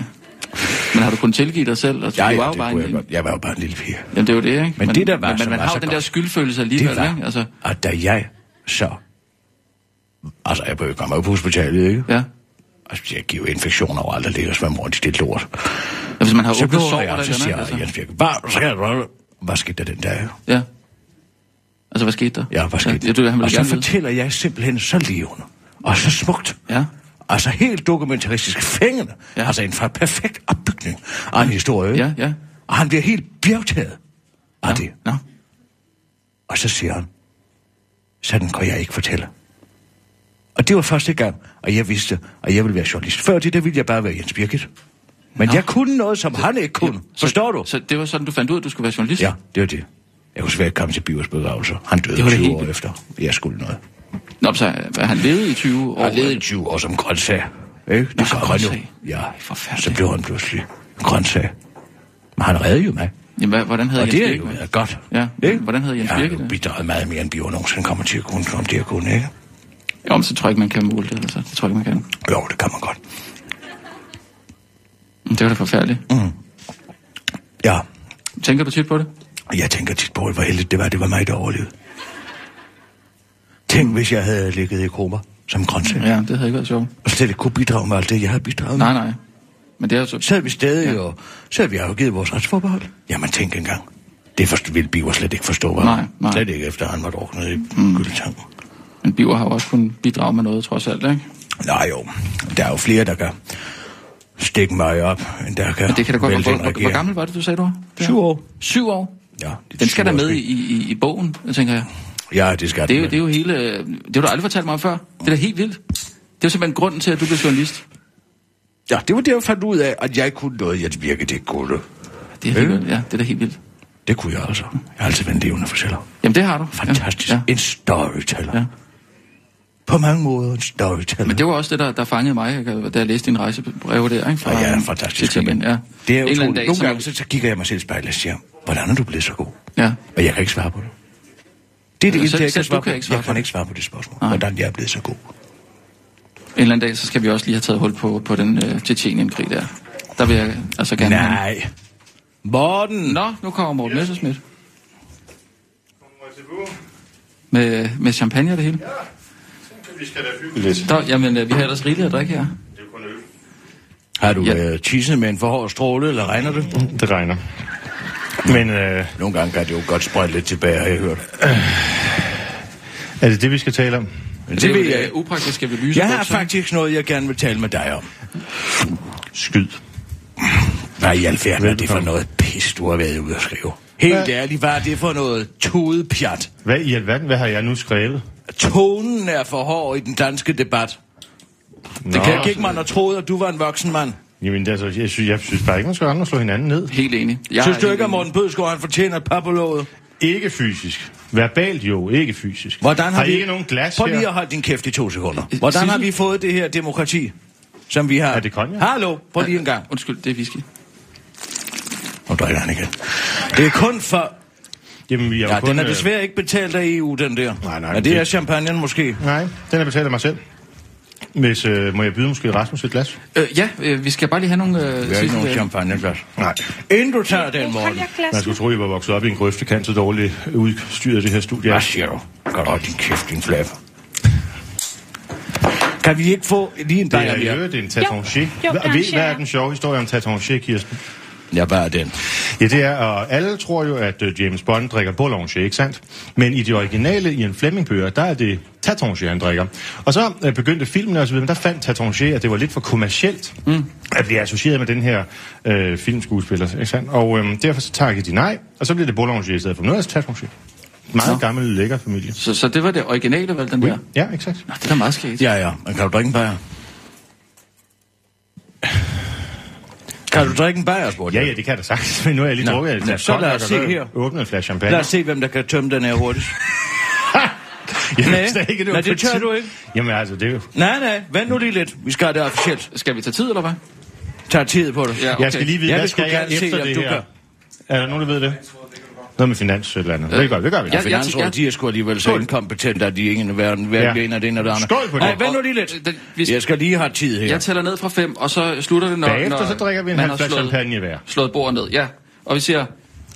Speaker 5: Men har du kunnet tilgive dig selv? Altså,
Speaker 4: Ja,
Speaker 5: du var
Speaker 4: ja,
Speaker 5: jo
Speaker 4: det
Speaker 5: bare
Speaker 4: kunne jeg,
Speaker 5: en,
Speaker 4: godt. jeg var jo bare en lille pige.
Speaker 5: Jamen, det er jo det, ikke?
Speaker 4: Men det, der var
Speaker 5: men,
Speaker 4: så-
Speaker 5: men man
Speaker 4: var
Speaker 5: har
Speaker 4: så
Speaker 5: jo den
Speaker 4: godt.
Speaker 5: der skyldfølelse
Speaker 4: Det
Speaker 5: alligevel,
Speaker 4: var,
Speaker 5: ikke? Altså,
Speaker 4: at da jeg så... Altså, jeg behøver komme op på hospitalet, ikke?
Speaker 5: ja.
Speaker 4: Altså, jeg giver jo infektioner over alt, der ligger og svømmer rundt i det lort.
Speaker 5: Ja, Hvis man har
Speaker 4: Så
Speaker 5: åbnet
Speaker 4: blev jeg,
Speaker 5: sår eller
Speaker 4: og
Speaker 5: et
Speaker 4: så
Speaker 5: eller andet,
Speaker 4: siger
Speaker 5: altså.
Speaker 4: jeg, Jens Birke, hvad sker der? Hvad skete der den dag?
Speaker 5: Ja. Altså, hvad skete der?
Speaker 4: Ja, hvad skete
Speaker 5: Ja, det, er han
Speaker 4: Og
Speaker 5: ville
Speaker 4: så
Speaker 5: gerne vide.
Speaker 4: fortæller jeg simpelthen så levende, og så smukt,
Speaker 5: Ja.
Speaker 4: altså helt dokumentaristisk fængende,
Speaker 5: Ja.
Speaker 4: ja. altså en fra perfekt opbygning af en historie.
Speaker 5: Ja, ja.
Speaker 4: Og han bliver helt bjergtaget af det.
Speaker 5: Nå.
Speaker 4: Og så siger han, sådan kan jeg ikke fortælle. Og det var første gang, og jeg vidste, at jeg ville være journalist. Før det, der ville jeg bare være Jens Birgit. Men jeg kunne noget, som han ikke kunne.
Speaker 5: Ja, så-
Speaker 4: Forstår du?
Speaker 5: Så det var sådan, du fandt ud, at du skulle være journalist?
Speaker 4: Ja, det var det. Jeg kunne svært ikke komme til Bivers begravelse. Han døde
Speaker 5: Det var det
Speaker 4: 20
Speaker 5: helt
Speaker 4: år
Speaker 5: vildt.
Speaker 4: efter. Jeg skulle noget.
Speaker 5: Nå, så øh, han levede i 20 år.
Speaker 4: Og levede i 20 år som grøntsag. Ikke? Det
Speaker 5: Nå,
Speaker 4: Nå,
Speaker 5: som
Speaker 4: som grøn jo.
Speaker 5: grøntsag.
Speaker 4: Ja,
Speaker 5: forfærdeligt.
Speaker 4: så blev han pludselig grøntsag. Men han reddede jo mig.
Speaker 5: Jamen, hvad- hvordan havde
Speaker 4: Og
Speaker 5: Jens
Speaker 4: det er
Speaker 5: Birke
Speaker 4: jo
Speaker 5: det?
Speaker 4: været godt.
Speaker 5: Ja,
Speaker 4: Ikke?
Speaker 5: hvordan havde Jens
Speaker 4: Jeg har
Speaker 5: Birke
Speaker 4: jo
Speaker 5: det?
Speaker 4: bidraget meget mere, end Biver nogensinde kommer til at kunne, om det at kunne, ikke?
Speaker 5: Jo, men så tror jeg ikke, man kan måle det. Altså. Det tror jeg ikke, man kan.
Speaker 4: Jo, det kan man godt.
Speaker 5: Men Det var da forfærdeligt. Mm.
Speaker 4: Ja,
Speaker 5: Tænker du tit på det?
Speaker 4: og jeg tænker tit på, hvor heldigt det var, det var mig, der overlevede. Tænk, hvis jeg havde ligget i koma som grøntsag,
Speaker 5: Ja, det havde ikke været sjovt.
Speaker 4: og slet ikke kunne bidrage med alt det, jeg havde bidraget med.
Speaker 5: Nej, nej. Men det er jo så...
Speaker 4: så havde vi stadig, ja. og så havde vi afgivet vores retsforbehold. Jamen tænk engang. Det forst- ville Biver slet ikke forstå, var
Speaker 5: Nej, nej.
Speaker 4: Slet ikke efter, han var druknet i mm. gyldetanken.
Speaker 5: Men Biver har jo også kunnet bidrage med noget, trods alt, ikke?
Speaker 4: Nej jo, der er jo flere, der kan stikke mig op, end der kan
Speaker 5: Men det kan da godt
Speaker 4: vælte
Speaker 5: være...
Speaker 4: en
Speaker 5: Hvor, hvor, hvor
Speaker 4: regering.
Speaker 5: gammel var det, du sagde, du var? Det
Speaker 4: Syv
Speaker 5: her?
Speaker 4: år.
Speaker 5: Syv år?
Speaker 4: Ja, det er
Speaker 5: Den skal
Speaker 4: syv
Speaker 5: da
Speaker 4: år
Speaker 5: med i,
Speaker 4: siden.
Speaker 5: i, i bogen, tænker jeg.
Speaker 4: Ja, det skal
Speaker 5: Det er, jo,
Speaker 4: den.
Speaker 5: det er jo hele... øh, Det har du aldrig fortalt mig om før. Det er da helt vildt. Det er jo simpelthen grunden til, at du blev journalist.
Speaker 4: Ja, det var det, jeg fandt ud af, at jeg kunne noget, jeg virkede det ikke kunne.
Speaker 5: Det er, helt, vildt. ja, det er da helt vildt.
Speaker 4: Det kunne jeg altså. Jeg har altid været en levende fortæller.
Speaker 5: Jamen, det har du.
Speaker 4: Fantastisk.
Speaker 5: Ja, ja.
Speaker 4: En storyteller.
Speaker 5: Ja.
Speaker 4: På mange måder en storyteller.
Speaker 5: Men det var også det, der, der fangede mig, ikke? Altså, da jeg læste din rejsebreve der, ikke?
Speaker 4: Og jeg er en fantastisk
Speaker 5: Tjetjenien,
Speaker 4: mand.
Speaker 5: ja.
Speaker 4: Det er jo
Speaker 5: en eller anden
Speaker 4: Nogle
Speaker 5: dag, så-
Speaker 4: gange så, så kigger jeg mig selv i spejlet og siger, hvordan er du blevet så god?
Speaker 5: Ja.
Speaker 4: Og jeg kan ikke svare på det. Det er det
Speaker 5: Ja,
Speaker 4: eneste,
Speaker 5: selv-
Speaker 4: jeg
Speaker 5: selv
Speaker 4: kan svare
Speaker 5: du kan
Speaker 4: på.
Speaker 5: ikke svare
Speaker 4: Jeg
Speaker 5: på
Speaker 4: kan
Speaker 5: det.
Speaker 4: ikke svare på det spørgsmål.
Speaker 5: Nej.
Speaker 4: Hvordan jeg er blevet så god.
Speaker 5: En eller anden dag, så skal vi også lige have taget hul på, på den øh, Tjetjenien-krig der. Der vil jeg altså gerne...
Speaker 4: Nej. Morten!
Speaker 5: Nå, nu kommer Morten Messerschmidt. Med, med champagne og det hele.
Speaker 2: Vi skal da hygge lidt.
Speaker 5: Der, jamen, øh, vi har ellers rigeligt at drikke her.
Speaker 2: Det er jo kun øl.
Speaker 4: Har du
Speaker 5: Ja.
Speaker 4: ja. øh, tisset med en for hård stråle, eller regner det?
Speaker 2: Det regner. Men øh,
Speaker 4: Nogle gange kan det jo godt sprøjte lidt tilbage, har jeg hørt.
Speaker 2: er det det, vi skal tale om?
Speaker 4: Men det, det
Speaker 5: er jo
Speaker 4: ved
Speaker 5: et,
Speaker 4: jeg
Speaker 5: øh,
Speaker 4: ikke.
Speaker 5: upraktisk analyse.
Speaker 4: Jeg har faktisk noget, jeg gerne vil tale med dig om.
Speaker 2: Skyd.
Speaker 4: Nej, i alverden er det for noget pis, du har været ude at skrive. Helt ærligt, hvad er det for noget tudepjat?
Speaker 2: Hvad i alverden, hvad har jeg nu skrevet?
Speaker 4: Tonen er for hård i den danske debat.
Speaker 2: Nå,
Speaker 4: Det kan ikke man have troet, at du var en voksen mand.
Speaker 2: Jamen, altså, jeg, synes, jeg synes bare ikke, man skal andre slå hinanden ned.
Speaker 5: Helt enig. Jeg
Speaker 4: Synes
Speaker 5: er
Speaker 4: du
Speaker 5: helt
Speaker 4: ikke, at
Speaker 5: enig.
Speaker 4: Morten Bødskov, han fortjener et par på låget?
Speaker 2: Ikke fysisk. Verbalt jo, ikke fysisk.
Speaker 4: Hvordan har,
Speaker 2: har I
Speaker 4: vi...
Speaker 2: ikke nogen glas
Speaker 4: Prøv lige
Speaker 2: her?
Speaker 4: at holde din kæft i to sekunder. Hvordan har
Speaker 5: Sissel?
Speaker 4: vi fået det her demokrati, som vi har?
Speaker 2: Er det cognac?
Speaker 4: Hallo, prøv lige en gang.
Speaker 5: Undskyld, det er whisky.
Speaker 4: Nu drikker han igen. Det er kun for...
Speaker 2: Jamen, vi har jo
Speaker 4: Ja,
Speaker 2: kun,
Speaker 4: den er
Speaker 2: øh,
Speaker 4: desværre ikke betalt af EU, den der.
Speaker 2: Nej, nej,
Speaker 4: Men det
Speaker 2: det-
Speaker 4: er champagne måske.
Speaker 2: Nej, den er betalt af mig selv. Hvis, øh, må jeg byde måske Rasmus et glas?
Speaker 5: Øh, ja, øh, vi skal bare lige have nogle... Øh,
Speaker 4: Det er ikke
Speaker 5: sidste-
Speaker 4: nogen champagneglas.
Speaker 2: Nej.
Speaker 4: Inden du tager den,
Speaker 6: Hold
Speaker 4: Morten.
Speaker 6: jer glas.
Speaker 2: Man skulle tro, I var vokset op i en grøftekant, så dårligt udstyret af det her studie.
Speaker 4: Hvad
Speaker 2: er.
Speaker 4: siger du? Gør dig din kæft, din flaffer. Kan vi ikke få lige en
Speaker 2: Det er
Speaker 4: bajer
Speaker 2: i
Speaker 4: mere?
Speaker 2: øvrigt en tatanché.
Speaker 6: Jo, der er en
Speaker 2: Ved, hvad er
Speaker 6: sjære.
Speaker 2: den sjove historie om tatanché, Kirsten?
Speaker 4: Ja, hvad er den?
Speaker 2: Ja, det er, og alle tror jo, at øh, James Bond drikker Boulanger, ikke sandt? Men i det originale, i en Fleming-bøger, der er det Tatanché, han drikker. Og så øh, begyndte filmen og så videre, men der fandt Tatanché, at det var lidt for kommercielt mm. at blive associeret med den her øh, filmskuespiller, ikke sandt? Og øh, derfor så takkede de nej, og så blev det Boulanger i stedet for. Men nu er det altså Tatanché. Meget
Speaker 5: Nå.
Speaker 2: gammel, lækker familie.
Speaker 5: Så, så det var det originale, vel, den der?
Speaker 2: Ja, exakt.
Speaker 5: Nå, det er da meget skægt.
Speaker 4: Ja, ja. Men kan du drikke en bajer? Kan du drikke en bajer, spurgte
Speaker 2: Ja,
Speaker 4: jeg?
Speaker 2: ja, det kan der sagt, men nu er jeg lige
Speaker 4: Nå.
Speaker 2: drukket. af lidt
Speaker 4: Nå, så lad
Speaker 2: cognac,
Speaker 4: os
Speaker 2: og
Speaker 4: se her.
Speaker 2: Åbne en flaske champagne.
Speaker 4: Lad os se, hvem der kan tømme den her hurtigst.
Speaker 2: Jeg
Speaker 4: Nej.
Speaker 2: vidste ikke, det var
Speaker 4: Nej, det
Speaker 2: på
Speaker 4: tør
Speaker 2: tid.
Speaker 4: du ikke.
Speaker 2: Jamen altså, det er jo...
Speaker 4: Nej, nej. Vent nu lige lidt. Vi skal have det officielt.
Speaker 5: Skal vi tage tid, eller hvad?
Speaker 4: Tag tid på det.
Speaker 5: Ja.
Speaker 2: Okay. Jeg skal lige vide,
Speaker 4: Jeg
Speaker 2: hvad
Speaker 4: vil
Speaker 2: skal
Speaker 4: sgu
Speaker 2: jeg
Speaker 4: gerne se,
Speaker 2: efter
Speaker 4: om
Speaker 2: det
Speaker 4: du
Speaker 2: her?
Speaker 4: kan.
Speaker 2: Er der nogen, der ved det? Noget med finans eller andet. Det gør vi, det gør vi.
Speaker 5: Ja, ja.
Speaker 4: Finansrådet, de er sgu alligevel så
Speaker 2: Skål.
Speaker 4: inkompetente, at de ingen hverken hverken
Speaker 2: Ja.
Speaker 4: det ene og det ene og det andet.
Speaker 2: Skål på det.
Speaker 4: Nej, vent nu lige lidt.
Speaker 5: Den- vi skal-
Speaker 4: Jeg skal lige have tid her.
Speaker 5: Jeg tæller ned fra fem, og så slutter det, når,
Speaker 2: Bagefter
Speaker 5: når
Speaker 2: så drikker vi en
Speaker 5: man
Speaker 2: halv
Speaker 5: har
Speaker 2: flaske
Speaker 5: slået-
Speaker 2: champagne hver.
Speaker 5: slået bordet ned. Ja, og vi siger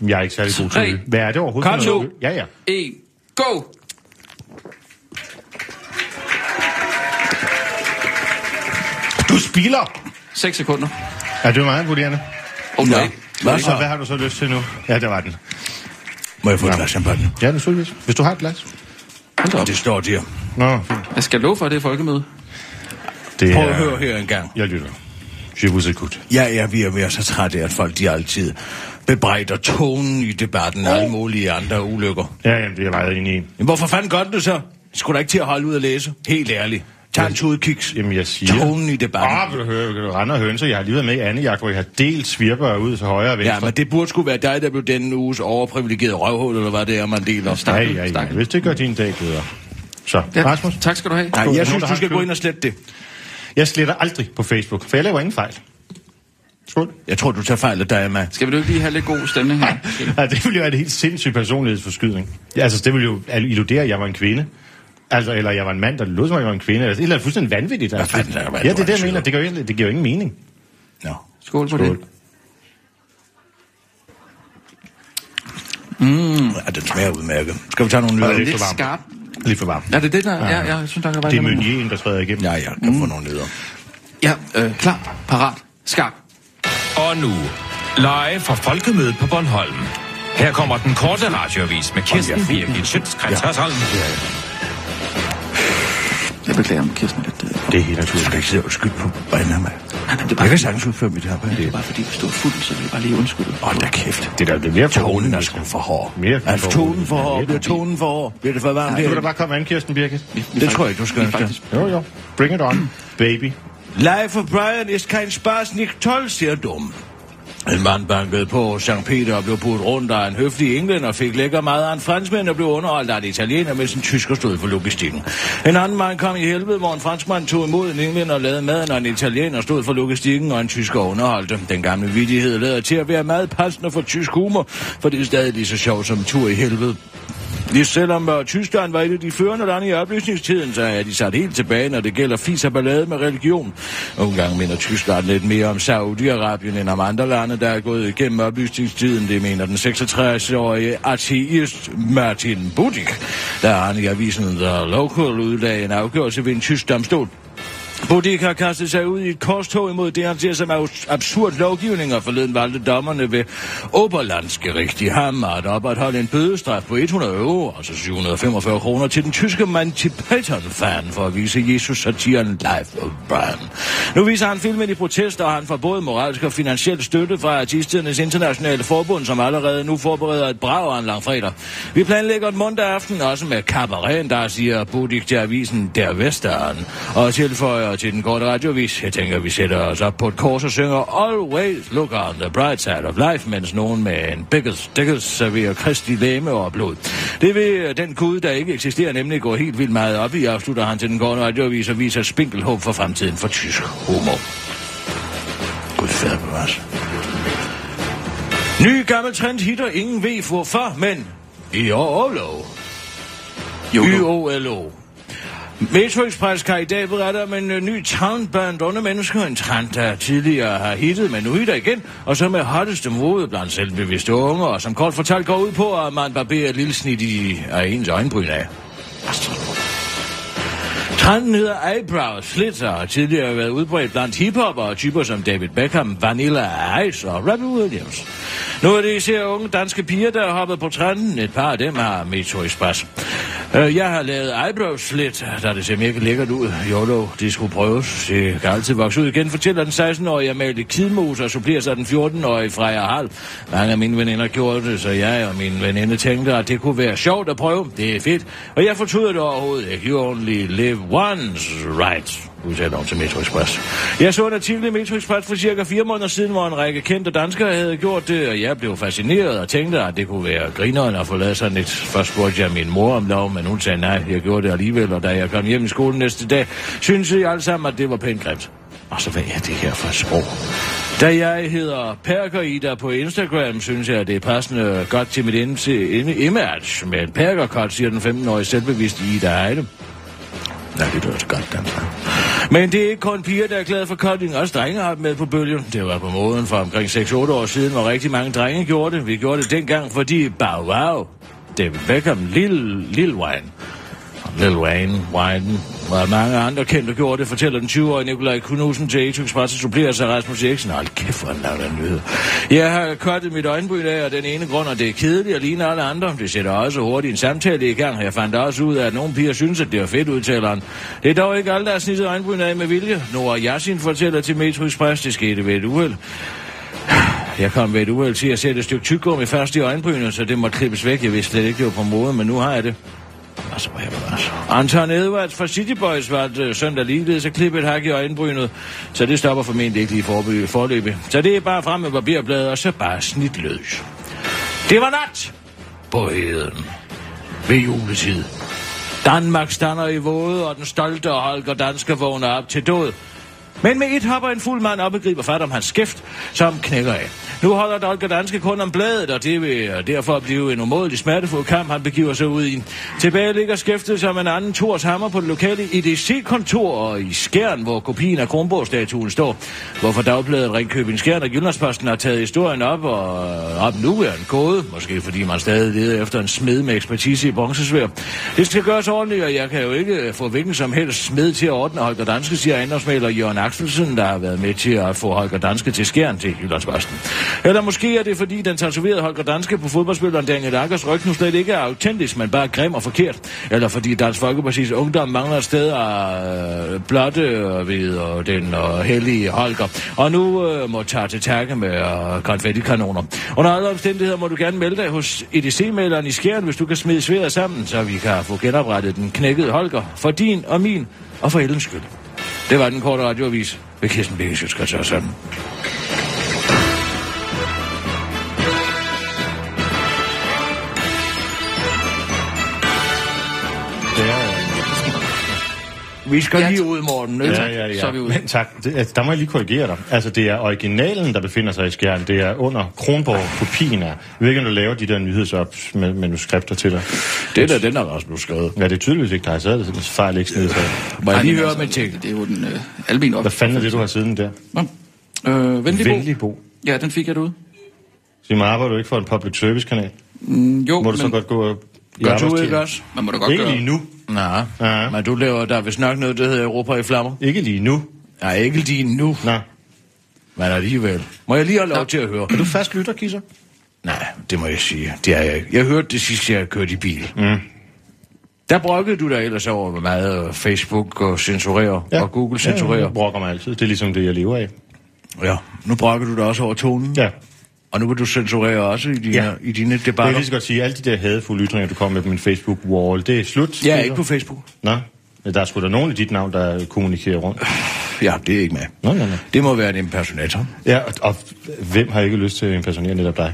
Speaker 2: Jeg er ikke særlig god til
Speaker 5: Tre.
Speaker 2: øl. Hvad er det overhovedet?
Speaker 4: Kom
Speaker 2: for noget
Speaker 4: nu.
Speaker 2: øl? Ja, ja.
Speaker 5: 1, go!
Speaker 2: Du spiller!
Speaker 5: 6 sekunder.
Speaker 2: Ja, det var meget imponerende.
Speaker 5: Oh,
Speaker 4: Nå.
Speaker 5: nej.
Speaker 4: Hvad
Speaker 2: Så hvad
Speaker 4: så?
Speaker 2: har du så lyst til nu? Ja, det var den.
Speaker 4: Må jeg få et glas champagne?
Speaker 2: Ja, naturligvis. Hvis du har et glas.
Speaker 5: Hold da op.
Speaker 4: Det står der.
Speaker 2: Nå, fint.
Speaker 5: Jeg skal love for, at det er folkemøde.
Speaker 2: Det
Speaker 4: Prøv at høre her en gang.
Speaker 2: Jeg lytter. Je vous écoute.
Speaker 4: Ja, ja, vi er ved at være så trætte af, at folk de altid bebrejder tonen i debatten og alle mulige andre ulykker.
Speaker 2: Ja, jamen, det er jeg meget enig i.
Speaker 4: Men hvorfor fanden gør den det så? Skulle da ikke til at holde ud og læse? Helt ærligt. Tag en tudekiks.
Speaker 2: Jamen, jeg siger... Ah,
Speaker 4: Tonen i debatten.
Speaker 2: Åh, vil du høre, vil du rende og hønse. Jeg har lige været med i anden jagt, hvor jeg har delt svirper ud til højre og venstre.
Speaker 4: Ja, men det burde sgu være dig, der blev denne uges overprivilegeret røvhul, eller hvad det er, man deler.
Speaker 5: Stak.
Speaker 2: Ja, ja, ja.
Speaker 5: Stakkels.
Speaker 2: Hvis det gør din dag bedre. Så,
Speaker 5: Ja.
Speaker 2: Rasmus,
Speaker 5: Tak skal du have.
Speaker 4: Nej,
Speaker 2: Nogen,
Speaker 4: jeg
Speaker 2: der
Speaker 4: synes,
Speaker 2: har
Speaker 4: du skal
Speaker 2: en
Speaker 4: gå
Speaker 2: klud.
Speaker 4: ind og slette det.
Speaker 2: jeg sletter aldrig på Facebook, for jeg laver ingen fejl. Skål.
Speaker 4: Jeg tror, du tager fejl af dig, mand.
Speaker 5: Skal vi nu ikke lige have lidt god stemning her?
Speaker 2: Ja, det ville jo være en helt sindssyg personlighedsforskydning. Ja, altså, det ville jo illudere, at jeg var en kvinde. Altså, eller jeg var en mand, der lød som om, jeg var en kvinde. Altså, et eller andet fuldstændig vanvittigt. Altså.
Speaker 4: fanden er der, hvad
Speaker 2: ja,
Speaker 4: du
Speaker 2: det er det, jeg
Speaker 4: antyder?
Speaker 2: mener. Det, gør, jo egentlig- det giver jo ingen mening.
Speaker 4: Nå.
Speaker 5: Skål for
Speaker 2: Skål.
Speaker 5: det.
Speaker 4: Mm, Ja, den smager udmærket. Skal vi tage nogle nyheder?
Speaker 2: det er
Speaker 5: Lidt
Speaker 2: for varmt.
Speaker 5: skarp.
Speaker 2: Lidt for varmt.
Speaker 5: Er det det, der... Ja, ja, jeg synes, der kan være
Speaker 2: Det er
Speaker 5: noget med-
Speaker 2: Meunieren, der træder igennem.
Speaker 4: Ja, ja, kan mm. få nogle nyheder.
Speaker 5: Ja, øh, klar, parat, skarp.
Speaker 7: Og nu, live fra Folkemødet på Bornholm. Her kommer den korte radiovis med Kirsten Birgit Schøtzgrads Hasholm.
Speaker 5: Jeg beklager om Kirsten lidt. øh,
Speaker 4: Det er helt naturligt. Jeg skal ikke sidde og skylde på Brenner, mand.
Speaker 5: Nej, nej, det er bare,
Speaker 4: Jeg kan
Speaker 5: fordi,
Speaker 4: sagtens udføre mit arbejde.
Speaker 5: det er bare fordi, hvis du er fuld, så vil jeg bare lige undskylde.
Speaker 4: Hold da kæft.
Speaker 2: Det er da det mere
Speaker 4: Tonen er sgu for hård.
Speaker 2: Mere for
Speaker 4: er tonen for
Speaker 2: hård.
Speaker 4: hård?
Speaker 2: Ja,
Speaker 4: Bliver
Speaker 2: det-
Speaker 4: tonen for hård? Bliver det for varmt?
Speaker 2: Nu kan der
Speaker 4: herinde?
Speaker 2: bare komme an, Kirsten Birgit.
Speaker 4: Det tror jeg ikke, du skal
Speaker 5: Vi er
Speaker 4: ønske dig.
Speaker 5: faktisk-
Speaker 2: Jo, jo. Bring it on, baby.
Speaker 4: Live for Brian ist kein Spaß, nicht toll, siger dum. En mand bankede på St. Peter og blev budt rundt af en høflig englænder, fik lækker meget af en franskmand og blev underholdt af en italiener, mens en tysker stod for logistikken. En anden mand kom i helvede, hvor en franskmand tog imod en englænder og lavede maden, og en italiener stod for logistikken, og en tysker underholdte. Den gamle vidighed lader til at være meget passende for tysk humor, for det er stadig lige så sjovt som en tur i helvede. Lige selvom uh, Tyskland var et af de førende lande i oplysningstiden, så er de sat helt tilbage, når det gælder fis og ballade med religion. Nogle gange minder Tyskland lidt mere om Saudi-Arabien end om andre lande, der er gået igennem oplysningstiden. Det mener den 66-årige ateist Martin Budik, der er han i avisen The Local udlagde en afgørelse ved en tysk domstol. Budik har kastet sig ud i et korstog imod det, han ser som abs- absurd lovgivning, og forleden valgte dommerne ved Oberlandsgericht i Hammer at opretholde en bødestraf på 100 euro, altså 745 kroner, til den tyske mand til Patton-fan for at vise Jesus satiren Life of Brian. Nu viser han filmen i protest, og han får både moralsk og finansiel støtte fra artisternes internationale forbund, som allerede nu forbereder et brag af en lang fredag. Vi planlægger et mandag aften også med kabaret, der siger Budik til avisen Der Vesteren, og tilføjer til den korte radiovis. Jeg tænker, vi sætter os op på et kors og synger Always look on the bright side of life, mens nogen med en biggest stickers serverer kristi læme og blod. Det vil øh, den gud, der ikke eksisterer, nemlig gå helt vildt meget op i, afslutter han til den korte radiovis og viser spinkelhåb for fremtiden for tysk humor. Gud fader bevares. Ny gammel trend hitter ingen ved hvorfor, men i år overlov. YOLO. Metro Express kan i dag berette om en øh, ny townband under mennesker, en trend, der tidligere har hittet, men nu hitter igen, og som er hotteste mode blandt selvbevidste unge, og som kort fortalt går ud på, at man barberer et lille snit i, af ens øjenbryn af. Trenden hedder eyebrow slitter og har tidligere været udbredt blandt hiphopper og typer som David Beckham, Vanilla Ice og Robbie Williams. Nu er det især unge danske piger, der har hoppet på trenden. Et par af dem har Metro Express. Øh, Jeg har lavet eyebrow slit, da det ser mega lækkert ud. YOLO, det skulle prøves. Det kan altid vokse ud igen, fortæller den 16-årige Amalie Kidmos og supplerer sig den 14-årige Freja Hall. Mange af mine veninder gjorde det, så jeg og min veninde tænkte, at det kunne være sjovt at prøve. Det er fedt. Og jeg fortryder det overhovedet ikke. You only live once, right? udtaler hun til Metro Express. Jeg så en artikel i Metro Express for cirka fire måneder siden, hvor en række kendte danskere havde gjort det, og jeg blev fascineret og tænkte, at det kunne være grineren at få lavet sådan et. Først spurgte jeg min mor om lov, men hun sagde nej, jeg gjorde det alligevel, og da jeg kom hjem i skolen næste dag, syntes jeg alle sammen, at det var pænt grimt. Og så hvad er det her for et sprog? Da jeg hedder Perker Ida på Instagram, synes jeg, at det er passende godt til mit ind- til- ind- image. Men Perker siger den 15-årige selvbevidst Ida Ejle. Nej, det lyder så godt, dansk. Men det er ikke kun piger, der er glade for cutting. Også drenge har dem med på bølgen. Det var på moden for omkring 6-8 år siden, hvor rigtig mange drenge gjorde det. Vi gjorde det dengang, fordi Bow Wow, David Beckham, Lil, Lil Wayne, Lil Wayne, Wayne og mange andre kendte gjorde det, fortæller den 20-årige Nikolaj Knudsen til Eto Express og supplerer sig Rasmus Eriksen. Hold kæft, hvor er den lang nyhed. Jeg har kottet mit øjenbryn af, og den ene grund, at det er kedeligt og ligner alle andre. Det sætter også hurtigt en samtale i gang. Jeg fandt også ud af, at nogle piger synes, at det er fedt, udtaler han. Det er dog ikke alle, der har snittet øjenbryn af med vilje. Nora Yasin fortæller til Metro Express, det skete ved et uheld. Jeg kom ved et uheld til at sætte et stykke tyggegummi først i øjenbrynet, så det måtte klippes væk. Jeg vidste slet ikke, det var på mode, men nu har jeg det. Altså, hvor er det altså. Anton Edwards fra City Boys var øh, søndag ligeledes at klippe et hak i øjenbrynet, så det stopper formentlig ikke lige forby- forløbet. Så det er bare frem med barberbladet, og så bare snit løs. Det var nat på heden ved juletid. Danmark stander i våde, og den stolte Holger Danske vågner op til død. Men med et hopper en fuld mand op og griber fat om hans skæft, som knækker af. Nu holder Holger Danske kun om bladet, og det vil derfor blive en umådelig smertefuld kamp, han begiver sig ud i. Tilbage ligger skæftet som en anden Tors hammer på det lokale IDC-kontor og i Skjern, hvor kopien af Kronborg-statuen står. Hvorfor dagbladet Ringkøbing Skjern og Jyllandsposten har taget historien op, og øh, op nu er en gåde. Måske fordi man stadig leder efter en smed med ekspertise i bronzesvær. Det skal gøres ordentligt, og jeg kan jo ikke øh, få hvilken som helst smed til at ordne Holger Danske, siger ejendomsmaler Jørgen Axelsen, der har været med til at få Holger Danske til skæren til Jyllandsposten. Eller måske er det, fordi den tatoverede Holger Danske på fodboldspilleren Daniel Akkers ryg nu slet ikke er autentisk, men bare grim og forkert. Eller fordi Dansk Folkeparti's ungdom mangler et sted at øh, blotte øh, ved øh, den øh, hellige Holger. Og nu øh, må tage til takke med øh, konfettikanoner. Under alle omstændigheder må du gerne melde dig hos EDC-melderen i Skjern, hvis du kan smide sværet sammen, så vi kan få genoprettet den knækkede Holger for din og min og for Ellens skyld. Det var den korte radioavis ved Kirsten Birke Sjøtskrets og sådan. Vi skal
Speaker 5: Ja,
Speaker 4: lige
Speaker 5: tak.
Speaker 4: ud, Morten. ikke?
Speaker 2: Ja, ja, ja.
Speaker 5: Så er vi ude.
Speaker 2: Men tak. Det, altså, der må jeg lige korrigere dig. Altså, det er originalen, der befinder sig i skærmen. Det er under Kronborg kopien af. Jeg ved ikke, om du laver de der nyhedsmanuskripter til dig.
Speaker 4: Det er da den, der Rasmus skrevet.
Speaker 2: Ja, det er tydeligvis ikke dig, så er det fejl ikke snedet sig.
Speaker 4: Må jeg
Speaker 5: Ej,
Speaker 4: lige
Speaker 5: men
Speaker 4: høre
Speaker 5: altså,
Speaker 4: om en ting?
Speaker 5: Det er jo den øh, almen op.
Speaker 2: Hvad fanden er det, du har siden der?
Speaker 5: Nå. Øh, venlig,
Speaker 2: Venlig
Speaker 5: venlig.
Speaker 2: bo.
Speaker 5: Ja, den fik jeg derude.
Speaker 2: Sig mig, arbejder du ikke for en public service kanal?
Speaker 5: Mm, jo,
Speaker 2: Må du
Speaker 5: men,
Speaker 2: så godt gå og i
Speaker 4: Gør du
Speaker 2: arbejdstiden.
Speaker 4: ikke også?
Speaker 5: Man må da godt
Speaker 2: Ikke
Speaker 5: gøre.
Speaker 2: lige nu.
Speaker 4: Nej,
Speaker 2: Ja.
Speaker 4: men du laver, der er vist nok noget, der hedder Europa i flammer.
Speaker 2: Ikke lige nu.
Speaker 4: Nej, ikke lige nu,
Speaker 2: Nå.
Speaker 4: men alligevel. Må jeg lige have lov til at høre?
Speaker 2: Er du fast lytter, Kisser?
Speaker 4: Nej, det må jeg sige. Det er jeg ikke. Jeg hørte det sidste, jeg kørte i bil. Mm. Der brokkede du dig ellers over, hvor meget øh, Facebook og censurerer, ja. og Google censurerer.
Speaker 2: Ja, jeg brokker mig altid. Det er ligesom det, jeg lever af.
Speaker 4: Ja, nu brokker du dig også over tonen.
Speaker 2: Ja.
Speaker 4: Og nu vil du censurere også i dine, ja.
Speaker 2: Ja.
Speaker 4: i dine
Speaker 2: Jeg kan
Speaker 4: debatter.
Speaker 2: lige så godt sige, at alle de der hadefulde ytringer, du kom med på min Facebook-wall, det er slut.
Speaker 4: Jeg er ikke på Facebook.
Speaker 2: Nå, men der er sgu da nogen i dit navn, der kommunikerer rundt.
Speaker 4: Ja, det er ikke med.
Speaker 2: Nå, nå, nå.
Speaker 4: Det må være en impersonator.
Speaker 2: Ja, og, og hvem har ikke lyst til at impersonere netop dig?